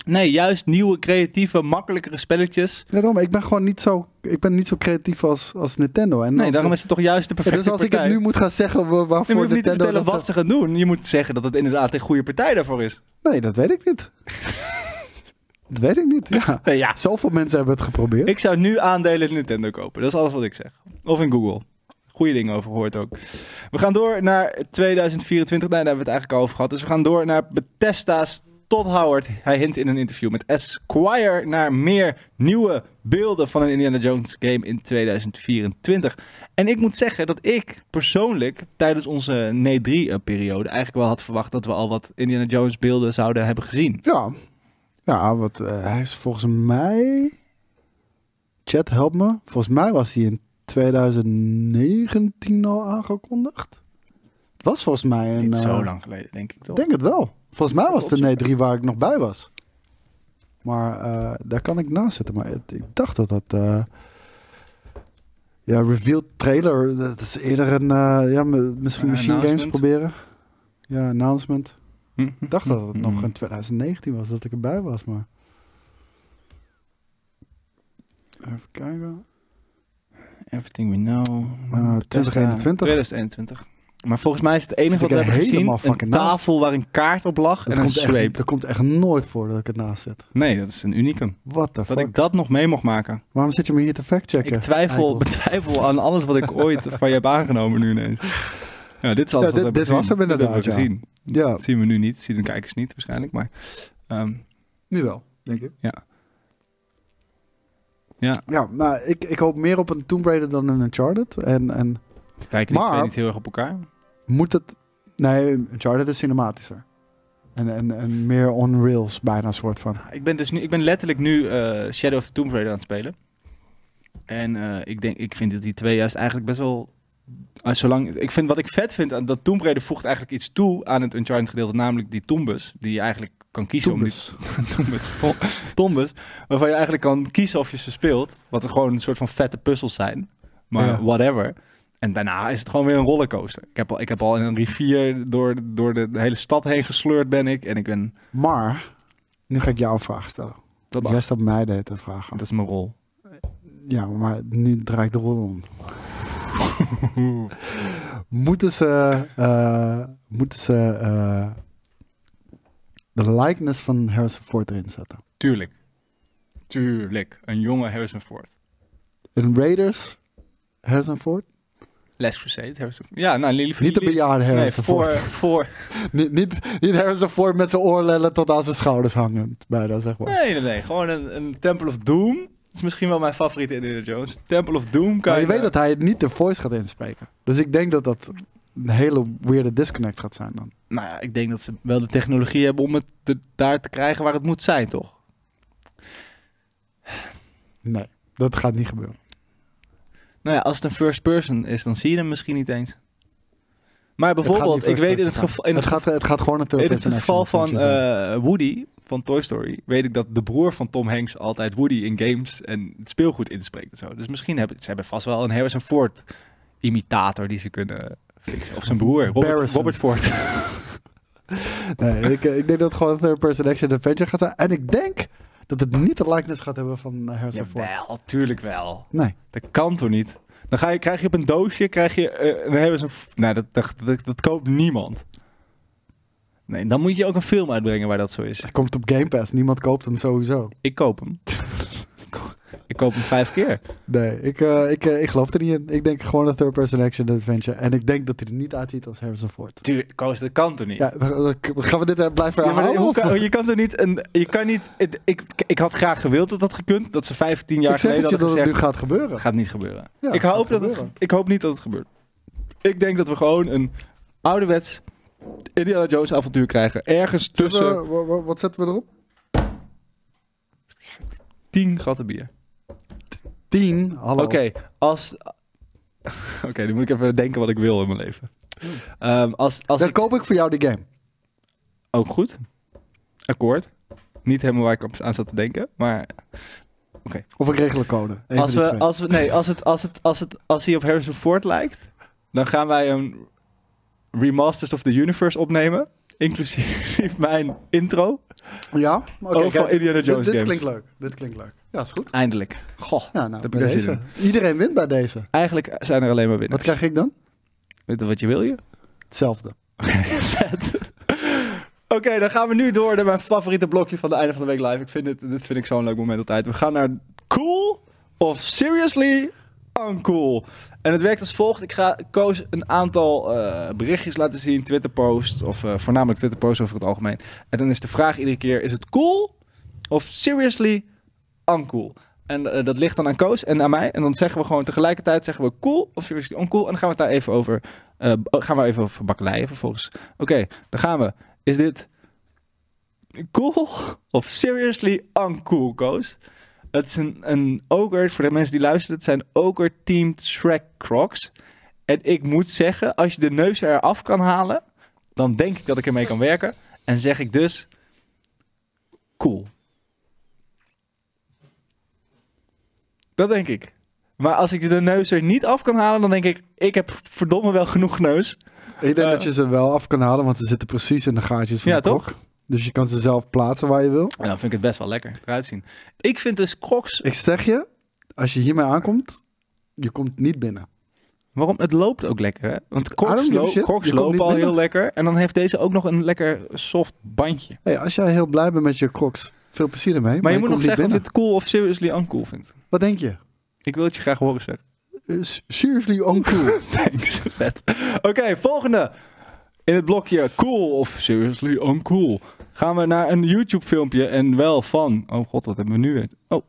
Speaker 1: Nee, juist nieuwe, creatieve, makkelijkere spelletjes.
Speaker 2: Daarom, ik ben gewoon niet zo, ik ben niet zo creatief als, als Nintendo. En
Speaker 1: Nee,
Speaker 2: als
Speaker 1: daarom
Speaker 2: ik-
Speaker 1: is het toch juist de
Speaker 2: Ja,
Speaker 1: perfecte
Speaker 2: dus als
Speaker 1: partij.
Speaker 2: ik het nu moet gaan zeggen wa-
Speaker 1: Nee,
Speaker 2: waarvoor
Speaker 1: maar je hoeft niet te
Speaker 2: Nintendo...
Speaker 1: vertellen
Speaker 2: dat
Speaker 1: wat ze gaan doen. Je moet zeggen dat het inderdaad een goede partij daarvoor is.
Speaker 2: ze- Nee, dat weet ik niet. dat weet ik niet, ja.
Speaker 1: Nee, ja.
Speaker 2: Zoveel mensen hebben het geprobeerd.
Speaker 1: Ik zou nu aandelen in Nintendo kopen. Dat is alles wat ik zeg. Of in Google. Goeie dingen over gehoord ook. We gaan door naar 2024. Nee, daar hebben we het eigenlijk al over gehad. Dus we gaan door naar Bethesda's Todd Howard. Hij hint in een interview met Esquire naar meer nieuwe beelden van een Indiana Jones game in 2024. En ik moet zeggen dat ik persoonlijk tijdens onze NE3-periode eigenlijk wel had verwacht dat we al wat Indiana Jones beelden zouden hebben gezien.
Speaker 2: Ja. Ja, want eh, hij is volgens mij. Chat, help me. Volgens mij was hij in 2019 al aangekondigd. Het was volgens mij een.
Speaker 1: Niet zo
Speaker 2: eh,
Speaker 1: lang geleden, denk ik
Speaker 2: Ik
Speaker 1: toch?
Speaker 2: denk het wel. Volgens mij
Speaker 1: Zal
Speaker 2: was het
Speaker 1: opzoeken.
Speaker 2: een E3 waar ik nog bij was. Maar eh, daar kan ik naast zitten. Maar het- ik dacht dat dat. eh, ja, revealed trailer. Dat is eerder een. eh, ja, m- misschien
Speaker 1: Een
Speaker 2: Machine Games
Speaker 1: announcement?
Speaker 2: proberen. Ja, announcement.
Speaker 1: Hm?
Speaker 2: Ik dacht dat het
Speaker 1: Hm.
Speaker 2: nog in 2019 was dat ik erbij was, maar. Even kijken.
Speaker 1: Everything we know.
Speaker 2: Eh, 2021.
Speaker 1: 2021. Maar volgens mij is het enige
Speaker 2: Zit
Speaker 1: wat
Speaker 2: ik
Speaker 1: we
Speaker 2: er
Speaker 1: hebben gezien
Speaker 2: helemaal
Speaker 1: een
Speaker 2: fucking naast.
Speaker 1: tafel waar een kaart op lag
Speaker 2: Dat
Speaker 1: en een
Speaker 2: komt, echt,
Speaker 1: sweep.
Speaker 2: dat komt echt nooit voor dat ik het naast zit.
Speaker 1: Nee, dat is een unicum.
Speaker 2: Wat de
Speaker 1: Dat
Speaker 2: fuck?
Speaker 1: ik dat nog mee mocht maken.
Speaker 2: Waarom zit je me hier te factchecken?
Speaker 1: Ik twijfel,
Speaker 2: Eikel.
Speaker 1: betwijfel aan alles wat ik ooit van je heb aangenomen nu ineens. Ja, dit is alles
Speaker 2: Ja, dit-
Speaker 1: wat we
Speaker 2: dit was
Speaker 1: hebben gezien. Dit hebben
Speaker 2: hem
Speaker 1: we
Speaker 2: inderdaad, ja.
Speaker 1: gezien.
Speaker 2: Ja,
Speaker 1: Dat zien we nu niet. Dat zien de kijkers niet waarschijnlijk. Maar ehm,
Speaker 2: nu wel, denk ik.
Speaker 1: Ja. Ja.
Speaker 2: Ja, maar ik, ik hoop meer op een Tomb Raider dan een Uncharted. En, en
Speaker 1: kijken die
Speaker 2: Maar-
Speaker 1: twee niet heel erg op elkaar.
Speaker 2: moet het... Nee, Uncharted is cinematischer. En, en, en meer on rails bijna soort van.
Speaker 1: Ik ben, dus nu, ik ben letterlijk nu eh, Shadow of the Tomb Raider aan het spelen. En eh, ik, denk, ik vind dat die twee juist eigenlijk best wel... ah, zolang, ik vind, wat ik vet vind, aan dat Tomb Raider voegt eigenlijk iets toe aan het Uncharted gedeelte. Namelijk die tombes, die je eigenlijk kan kiezen om die
Speaker 2: Tombes.
Speaker 1: tombes, tombes, waarvan je eigenlijk kan kiezen of je ze speelt. Wat er gewoon een soort van vette puzzels zijn. Maar
Speaker 2: Ja.
Speaker 1: whatever. En daarna is het gewoon weer een rollercoaster. Ik heb al, ik heb al in een rivier door, door de hele stad heen gesleurd ben ik. En ik ben...
Speaker 2: Maar, nu ga ik jou een vraag stellen.
Speaker 1: Dat,
Speaker 2: Jij staat mij de hele tijd vragen.
Speaker 1: dat is mijn rol.
Speaker 2: Ja, maar nu draai ik de rol om. moeten ze, eh, moeten ze eh, de likeness van Harrison Ford erin zetten?
Speaker 1: Tuurlijk. Tuurlijk. Een jonge Harrison Ford.
Speaker 2: In Raiders, Harrison Ford?
Speaker 1: Les Crusade, Harrison Ja, nou, Lily
Speaker 2: Niet de bejaarde Harrison
Speaker 1: Nee, voor,
Speaker 2: Ford.
Speaker 1: voor...
Speaker 2: Niet, niet, niet Harrison Ford met zijn oorlellen tot aan zijn schouders hangend. Bijna, zeg maar.
Speaker 1: Nee, nee, nee. Gewoon een, een Temple of Doom. Dat is misschien wel mijn favoriete Indiana Jones. Temple of Doom kan
Speaker 2: Maar je weet dat hij niet de voice gaat inspreken. Dus ik denk dat dat een hele weirde disconnect gaat zijn dan.
Speaker 1: Nou ja, ik denk dat ze wel de technologie hebben om het te- daar te krijgen waar het moet zijn, toch?
Speaker 2: Nee, dat gaat niet gebeuren.
Speaker 1: Nou ja, als het een first person is, dan zie je hem misschien niet eens. Maar
Speaker 2: Het gaat
Speaker 1: bijvoorbeeld,
Speaker 2: niet
Speaker 1: ik weet in het
Speaker 2: first
Speaker 1: geval...
Speaker 2: person
Speaker 1: in het
Speaker 2: zijn. het, gaat, het gaat gewoon een third
Speaker 1: In het
Speaker 2: person
Speaker 1: geval
Speaker 2: action
Speaker 1: van
Speaker 2: adventure zijn.
Speaker 1: eh, Woody van Toy Story weet ik dat de broer van Tom Hanks altijd Woody in games en het speelgoed inspreekt en zo. Dus misschien hebben ze hebben vast wel een Harrison Ford imitator die ze kunnen fixen. Of zijn broer, Robert,
Speaker 2: Barrison.
Speaker 1: Robert Ford.
Speaker 2: Nee, ik, eh, ik denk dat het gewoon een third person action adventure gaat zijn. En ik denk dat het niet de likeness gaat hebben van eh, Harrison Ford.
Speaker 1: Jawel, tuurlijk wel.
Speaker 2: Nee.
Speaker 1: Dat kan toch niet? Dan ga je, krijg je op een doosje, krijg je eh, een Harrison F- Nou, dat, dat, dat, dat koopt niemand. Nee, dan moet je ook een film uitbrengen waar dat zo is.
Speaker 2: Hij komt op Game Pass. Niemand koopt hem sowieso.
Speaker 1: Ik koop hem. Ik koop hem vijf keer.
Speaker 2: Nee, ik, eh, ik, eh, ik geloof er niet in. Ik denk gewoon een third-person action adventure. En ik denk dat hij er niet uitziet als Heroes of Ford.
Speaker 1: Tuurlijk, Koos, dat kan toch niet?
Speaker 2: Ja, dan- dan gaan we dit eh, blijven
Speaker 1: Ja, maar
Speaker 2: herhalen?
Speaker 1: hoe
Speaker 2: of-
Speaker 1: kan- oh, je kan toch niet een. Je kan niet. het- ik, ik had graag gewild dat dat gekund. Dat ze 15 jaar
Speaker 2: ik zeg het
Speaker 1: geleden
Speaker 2: je
Speaker 1: hadden
Speaker 2: dat het nu
Speaker 1: gezegd.
Speaker 2: gaat gebeuren.
Speaker 1: Dat gaat niet gebeuren.
Speaker 2: Ja,
Speaker 1: ik,
Speaker 2: gaat
Speaker 1: hoop dat
Speaker 2: gebeuren.
Speaker 1: Het, ik hoop niet dat het gebeurt. Ik denk dat we gewoon een ouderwets Indiana Jones avontuur krijgen. Ergens tussen
Speaker 2: Zetten we- wa- wa- wat zetten we erop?
Speaker 1: 10 gatten bier.
Speaker 2: 10. Hallo.
Speaker 1: Oké, als. Oké, nu moet ik even denken wat ik wil in mijn leven. Ehm, als als
Speaker 2: Dan
Speaker 1: ik...
Speaker 2: koop ik voor jou die game.
Speaker 1: Ook goed. Akkoord. Niet helemaal waar ik op- aan zat te denken, maar
Speaker 2: Of ik regel een code. Eén
Speaker 1: Als
Speaker 2: van die
Speaker 1: we,
Speaker 2: twee.
Speaker 1: als we, nee, als het, als het, als het, als hij op Harrison Ford lijkt, dan gaan wij een Remasters of the Universe opnemen. Inclusief mijn intro.
Speaker 2: Ja? Oké,
Speaker 1: Ook Oh, van
Speaker 2: kijk,
Speaker 1: Indiana
Speaker 2: dit-
Speaker 1: Jones
Speaker 2: Dit,
Speaker 1: games.
Speaker 2: klinkt leuk. Dit klinkt leuk. Ja, is goed.
Speaker 1: Eindelijk. Goh.
Speaker 2: Ja, nou,
Speaker 1: heb
Speaker 2: bij
Speaker 1: ik daar
Speaker 2: deze.
Speaker 1: zin
Speaker 2: Iedereen wint bij deze.
Speaker 1: Eigenlijk zijn er alleen maar
Speaker 2: Wat
Speaker 1: winnaars.
Speaker 2: krijg ik dan?
Speaker 1: Weet je wat je wil je?
Speaker 2: Hetzelfde.
Speaker 1: Vet. Oké, dan gaan we nu door naar mijn favoriete blokje van de einde van de week live. Ik vind dit, dit vind ik zo'n leuk moment altijd. We gaan naar cool of seriously uncool. En het werkt als volgt. Ik ga Koos een aantal eh, berichtjes laten zien, Twitter posts of eh, voornamelijk Twitter posts over het algemeen. En dan is de vraag iedere keer, is het cool of seriously uncool? En eh, dat ligt dan aan Koos en aan mij. En dan zeggen we gewoon tegelijkertijd zeggen we cool of seriously uncool. En dan gaan we het daar even over, eh, b- gaan we even over bakkeleien vervolgens. Oké, dan gaan we. Is dit cool of seriously uncool, Koos? Het is een, een ogre, voor de mensen die luisteren, het zijn ogre teamed Shrek Crocs. En ik moet zeggen, als je de neus eraf kan halen, dan denk ik dat ik ermee kan werken. En zeg ik dus, cool. Dat denk ik. Maar als ik de neus er niet af kan halen, dan denk ik, ik heb verdomme wel genoeg neus.
Speaker 2: Ik denk
Speaker 1: Eh.
Speaker 2: dat je ze wel af kan halen, want ze zitten precies in de gaatjes van
Speaker 1: Ja,
Speaker 2: de
Speaker 1: toch?
Speaker 2: klok. Dus je kan ze zelf plaatsen waar je wil.
Speaker 1: En dan vind ik het best wel lekker eruit zien. Ik vind dus Crocs...
Speaker 2: Ik zeg je, als je hiermee aankomt, je komt niet binnen.
Speaker 1: Waarom? Het loopt ook lekker, hè? Want
Speaker 2: I don't
Speaker 1: Crocs,
Speaker 2: give a
Speaker 1: lo-
Speaker 2: shit.
Speaker 1: Crocs
Speaker 2: Je komt
Speaker 1: lopen
Speaker 2: niet
Speaker 1: al
Speaker 2: binnen.
Speaker 1: heel lekker. En dan heeft deze ook nog een lekker soft bandje.
Speaker 2: Hey, als jij heel blij bent met je crocs, veel plezier ermee.
Speaker 1: Maar je moet nog
Speaker 2: komt niet
Speaker 1: zeggen of je
Speaker 2: binnen.
Speaker 1: het cool of seriously uncool vindt.
Speaker 2: Wat denk je?
Speaker 1: Ik wil het je graag horen zeggen.
Speaker 2: Eh, s- seriously uncool.
Speaker 1: Thanks, vet. Oké, volgende. In het blokje cool of seriously uncool gaan we naar een YouTube filmpje en wel van... Oh god, wat hebben we nu weer? Oh.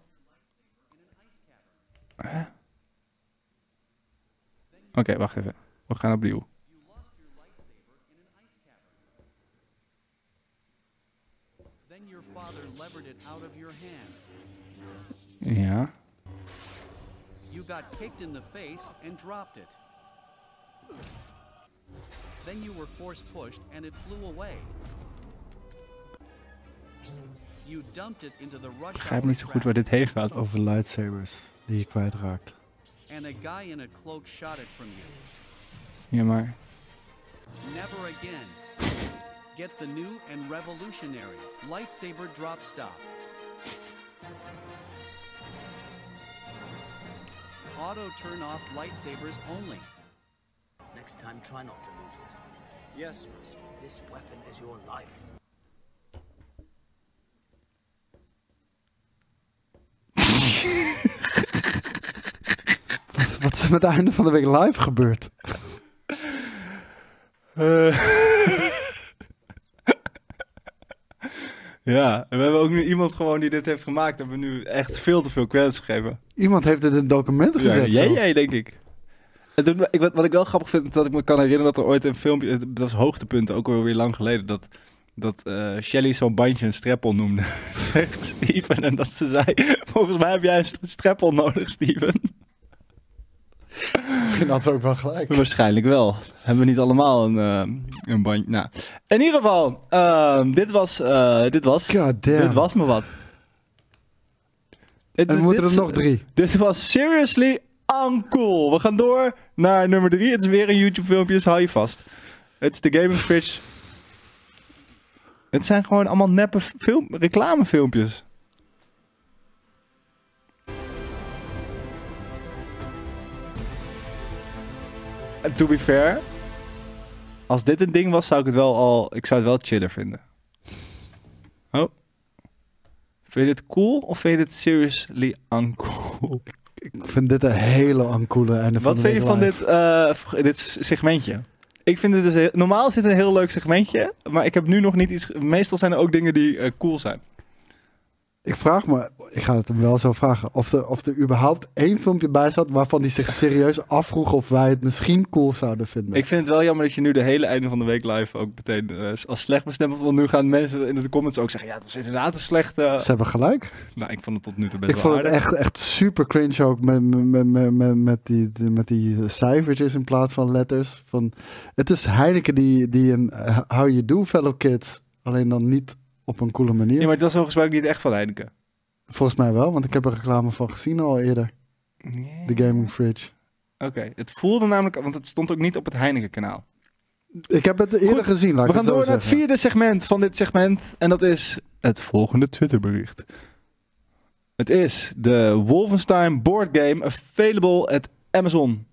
Speaker 1: Hè? Oké, wacht even. We gaan opnieuw.
Speaker 3: Then your father levered it out of your hand.
Speaker 1: Ja.
Speaker 3: You got kicked in the face and dropped it. Then you were force pushed and it flew away. You dumped it into the rush
Speaker 1: Ik begrijp
Speaker 3: hour
Speaker 1: niet zo goed waar
Speaker 3: traffic,
Speaker 1: dit heen gaat.
Speaker 2: Over lightsabers die je kwijtraakt.
Speaker 3: And a guy in a cloak shot it from you.
Speaker 1: Ja, maar...
Speaker 3: Never again. Get the new and revolutionary lightsaber drop stop. Auto turn off lightsabers only.
Speaker 4: Next time, try not to lose it.
Speaker 3: Yes, Master.
Speaker 4: This weapon is your life.
Speaker 2: Wat, wat is er met het einde van de week live gebeurd?
Speaker 1: Eh. Ja, en we hebben ook nu iemand gewoon die dit heeft gemaakt. Hebben we nu echt veel te veel credits gegeven.
Speaker 2: Iemand heeft het in een document gezet.
Speaker 1: jij,
Speaker 2: zelfs.
Speaker 1: jij, denk ik. Het doet me- ik. Wat wat ik wel grappig vind, is dat ik me kan herinneren dat er ooit een filmpje... het- Dat was hoogtepunt, ook alweer lang geleden, dat... Dat eh, Shelly zo'n bandje een streppel noemde. Tegen Steven. En dat ze zei: Volgens mij heb jij een st- streppel nodig, Steven.
Speaker 2: Misschien had ze ook wel gelijk.
Speaker 1: Waarschijnlijk wel. Hebben we niet allemaal een, eh, een bandje. Nou, in ieder geval, ehm, dit was. eh, dit was.
Speaker 2: God damn.
Speaker 1: Dit was me wat. Dit,
Speaker 2: En we moeten
Speaker 1: dit-
Speaker 2: er nog drie.
Speaker 1: Dit was seriously uncool. We gaan door naar nummer drie. Het is weer een YouTube filmpje, dus hou je vast. Het is de Game of Fish. Het zijn gewoon allemaal neppe film, reclamefilmpjes. En to be fair, als dit een ding was, zou ik het wel al, ik zou het wel chiller vinden. Oh. Vind je dit cool of vind je dit seriously uncool?
Speaker 2: Ik vind dit een hele ancoole einde van
Speaker 1: Wat
Speaker 2: de
Speaker 1: vind je
Speaker 2: week
Speaker 1: van
Speaker 2: live.
Speaker 1: dit, eh, v- dit s- segmentje? Ik vind dit dus heel- normaal is dit een heel leuk segmentje, maar ik heb nu nog niet iets. Meestal zijn er ook dingen die eh, cool zijn.
Speaker 2: Ik vraag me, ik ga het hem wel zo vragen, of er, of er überhaupt één filmpje bij zat waarvan hij zich serieus afvroeg of wij het misschien cool zouden vinden.
Speaker 1: Ik vind het wel jammer dat je nu de hele einde van de week live ook meteen eh, als slecht bestempelt. Want nu gaan mensen in de comments ook zeggen: ja, dat is inderdaad een slechte.
Speaker 2: Ze hebben gelijk.
Speaker 1: Nou, ik vond het tot nu toe best
Speaker 2: Ik
Speaker 1: wel
Speaker 2: vond het
Speaker 1: aardig.
Speaker 2: echt, echt super cringe ook met, met, met, met, met die, die- met die cijfertjes in plaats van letters. Van, het is Heineken die, die een eh, how you do fellow kids, alleen dan niet op een coole manier.
Speaker 1: Ja, maar het was volgens mij ook niet echt van Heineken.
Speaker 2: Volgens mij wel, want ik heb er reclame van gezien al eerder. De Gaming Fridge.
Speaker 1: Oké, het voelde namelijk, want het stond ook niet op het Heineken-kanaal.
Speaker 2: Ik heb het eerder
Speaker 1: Goed,
Speaker 2: gezien, laat
Speaker 1: We
Speaker 2: ik
Speaker 1: gaan
Speaker 2: het zo
Speaker 1: door naar het
Speaker 2: zeggen.
Speaker 1: vierde segment van dit segment. En dat is het volgende Twitterbericht. Het is de Wolfenstein Board Game available at Amazon.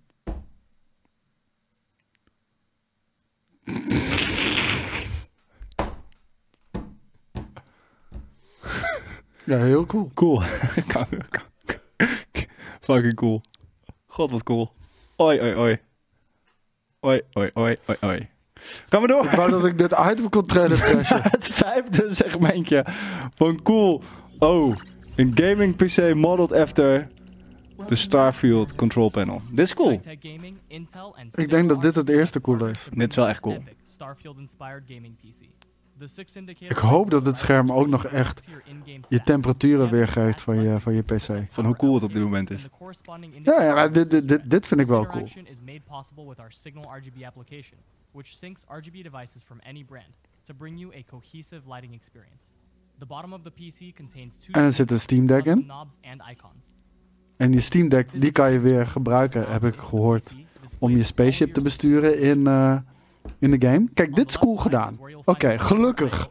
Speaker 2: Ja, heel cool.
Speaker 1: Cool. Fucking cool. God, wat cool. Oi, oi, oi. Oi, oi, oi, oi, oi. Gaan we door.
Speaker 2: Ik wou dat ik dit item kon trailer crashen.
Speaker 1: het vijfde segmentje van cool. Oh, een gaming PC modeled after the Starfield control panel. Dit is cool.
Speaker 5: High-tech gaming, Intel, and
Speaker 2: Ik denk dat dit het eerste
Speaker 5: cool
Speaker 2: coole is.
Speaker 1: Dit is wel echt cool.
Speaker 2: Ik hoop dat het scherm ook nog echt je temperaturen weergeeft van je, van je PC.
Speaker 1: Van hoe cool het op dit moment is.
Speaker 2: Ja, ja, maar dit- dit- dit- dit vind ik wel cool.
Speaker 5: is made possible with our Signal RGB application, which syncs RGB devices from any brand to bring you a cohesive lighting experience. The bottom of the PC contains two
Speaker 2: En er zit een Steam Deck
Speaker 5: custom
Speaker 2: in.
Speaker 5: knobs and icons.
Speaker 2: En die Steam Deck, die kan je weer gebruiken, heb ik gehoord. Om je spaceship te besturen in, eh, in de game. Kijk, dit is cool gedaan. Oké, gelukkig.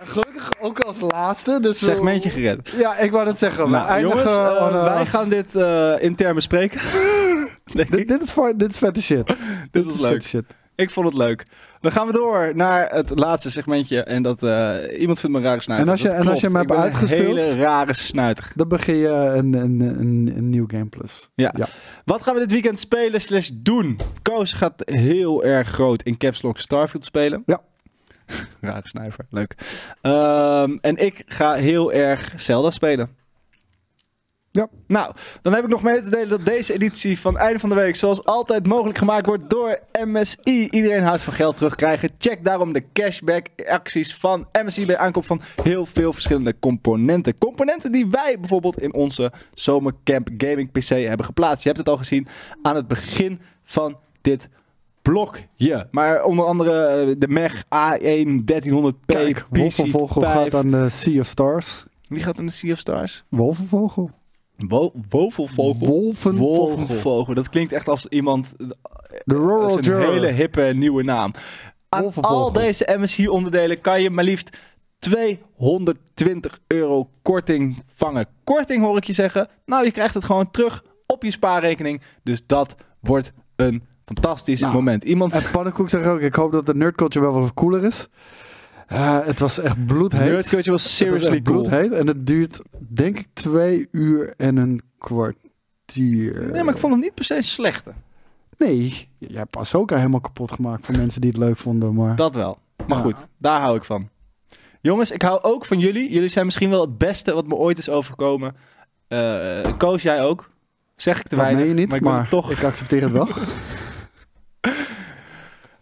Speaker 2: En gelukkig ook als laatste. Dus we-
Speaker 1: Segmentje gered.
Speaker 2: Ja, ik wou dat zeggen. We
Speaker 1: Nou,
Speaker 2: eindigen
Speaker 1: jongens, eh,
Speaker 2: aan, eh,
Speaker 1: wij gaan dit eh, intern bespreken. Denk
Speaker 2: dit,
Speaker 1: ik.
Speaker 2: dit, is voor, dit is vette shit.
Speaker 1: Dit
Speaker 2: is
Speaker 1: was
Speaker 2: vette
Speaker 1: leuk.
Speaker 2: shit.
Speaker 1: Ik vond het leuk. Dan gaan we door naar het laatste segmentje. En dat eh, iemand vindt me een rare snuiter.
Speaker 2: En als je-
Speaker 1: Dat
Speaker 2: en als je hem
Speaker 1: klopt. Ik
Speaker 2: hebt
Speaker 1: ben Een
Speaker 2: uitgespeeld?
Speaker 1: hele rare snuiter.
Speaker 2: Dan begin je een, een, een, een nieuw Game Plus.
Speaker 1: Ja.
Speaker 2: Ja.
Speaker 1: Wat gaan we dit weekend spelen slash doen? Koos gaat heel erg groot in Caps Lock Starfield spelen.
Speaker 2: Ja.
Speaker 1: Rare snuiver, leuk. Ehm, en ik ga heel erg Zelda spelen.
Speaker 2: Ja.
Speaker 1: Nou, dan heb ik nog mee te delen dat deze editie van Einde van de Week zoals altijd mogelijk gemaakt wordt door MSI. Iedereen houdt van geld terugkrijgen. Check daarom de cashback acties van MSI bij aankoop van heel veel verschillende componenten. Componenten die wij bijvoorbeeld in onze zomercamp gaming PC hebben geplaatst. Je hebt het al gezien aan het begin van dit blokje. Maar onder andere eh, de MEG A1 1300p
Speaker 2: Kijk, Wolfenvogel
Speaker 1: PC5.
Speaker 2: gaat aan de Sea of Stars.
Speaker 1: Wie gaat in de Sea of Stars?
Speaker 2: Wolfenvogel?
Speaker 1: Wo Wovelvogel.
Speaker 2: Wolfenvogel.
Speaker 1: Wolvenvogel. Dat klinkt echt als iemand.
Speaker 2: De
Speaker 1: Dat
Speaker 2: Rural
Speaker 1: is een
Speaker 2: Juror.
Speaker 1: hele hippe nieuwe naam. Aan
Speaker 2: Wolvenvogel.
Speaker 1: al deze MSI-onderdelen kan je maar liefst 220 euro korting vangen. Korting hoor ik je zeggen. Nou, je krijgt het gewoon terug op je spaarrekening. Dus dat wordt een fantastisch
Speaker 2: Nou,
Speaker 1: moment. Iemand.
Speaker 2: En Pannenkoek zegt ook, ik hoop dat de nerdculture wel wat cooler is. Eh, het was echt bloedheet. Het
Speaker 1: Nerdculture was
Speaker 2: was
Speaker 1: seriously
Speaker 2: echt
Speaker 1: cool.
Speaker 2: bloedheet. En het duurt, denk ik, twee uur en een kwartier.
Speaker 1: Nee, maar ik vond het niet per se slechte.
Speaker 2: Nee, jij hebt Ahsoka helemaal kapot gemaakt voor mensen die het leuk vonden. Maar...
Speaker 1: Dat wel. Maar
Speaker 2: Ja.
Speaker 1: goed, daar hou ik van. Jongens, ik hou ook van jullie. Jullie zijn misschien wel het beste wat me ooit is overkomen. Eh, Koos, jij ook? Zeg ik te
Speaker 2: dat
Speaker 1: weinig.
Speaker 2: meen je niet,
Speaker 1: maar
Speaker 2: maar,
Speaker 1: ik wil het toch.
Speaker 2: ik accepteer het wel.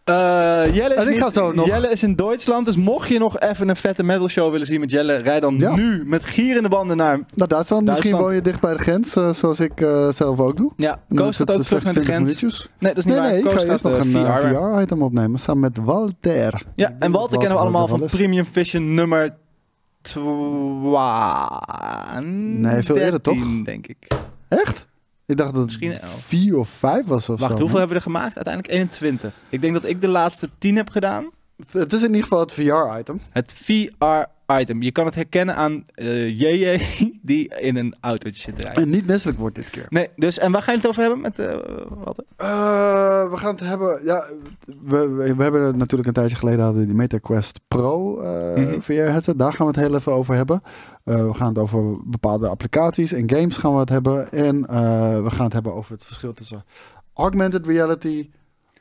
Speaker 1: Eh, Jelle, is
Speaker 2: En ik
Speaker 1: niet-
Speaker 2: ga zo nog.
Speaker 1: Jelle is in Duitsland, dus mocht je nog even een vette metal show willen zien met Jelle, rij dan
Speaker 2: Ja.
Speaker 1: nu met gierende banden naar hem.
Speaker 2: Nou, Duitsland, misschien
Speaker 1: Duitsland.
Speaker 2: woon je dicht bij de grens, eh, zoals ik eh, zelf ook doe.
Speaker 1: Ja,
Speaker 2: En dan
Speaker 1: Koos
Speaker 2: is het
Speaker 1: gaat ook terug
Speaker 2: slechts
Speaker 1: naar de
Speaker 2: 20
Speaker 1: grens.
Speaker 2: minuutjes.
Speaker 1: Nee, dat is niet
Speaker 2: Nee,
Speaker 1: waar.
Speaker 2: nee, ik
Speaker 1: Koos
Speaker 2: ga eerst
Speaker 1: gaat
Speaker 2: nog
Speaker 1: eh,
Speaker 2: een
Speaker 1: VR. werken.
Speaker 2: VR-item opnemen, samen met Walter.
Speaker 1: Ja, en Walter kennen we allemaal van
Speaker 2: Prima.
Speaker 1: Premium Vision nummer 12.
Speaker 2: Nee, veel eerder, toch?
Speaker 1: denk ik.
Speaker 2: Echt? Ik dacht dat
Speaker 1: Misschien
Speaker 2: het
Speaker 1: elf.
Speaker 2: vier of vijf was of
Speaker 1: Wacht,
Speaker 2: zo.
Speaker 1: hoeveel hebben we er gemaakt? Uiteindelijk 21. Ik denk dat ik de laatste 10 heb gedaan.
Speaker 2: Het is in ieder geval het VR-item.
Speaker 1: Het VR item. Je kan het herkennen aan eh JJ die in een autootje zit te rijden.
Speaker 2: En niet misselijk wordt dit keer.
Speaker 1: Nee, dus, en waar ga je het over hebben met eh wat?
Speaker 2: Eh, we gaan het hebben. Ja, we, we, we hebben er natuurlijk een tijdje geleden hadden we die MetaQuest Pro eh
Speaker 1: Mhm.
Speaker 2: VR headset. Daar gaan we het heel even over hebben. Eh, we gaan het over bepaalde applicaties en games gaan we het hebben. En eh, we gaan het hebben over het verschil tussen augmented reality,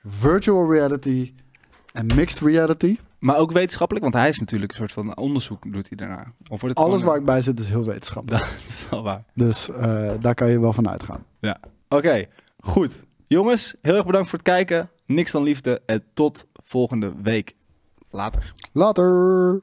Speaker 2: virtual reality en mixed reality.
Speaker 1: Maar ook wetenschappelijk, want hij is natuurlijk een soort van onderzoek doet hij daarna. Of wordt het
Speaker 2: Alles waar
Speaker 1: gewoon-
Speaker 2: ik bij zit is heel wetenschappelijk.
Speaker 1: Dat is wel waar.
Speaker 2: Dus eh, daar kan je wel van uitgaan.
Speaker 1: Oké, goed. Jongens, heel erg bedankt voor het kijken. Niks dan liefde en tot volgende week. Later.
Speaker 2: Later!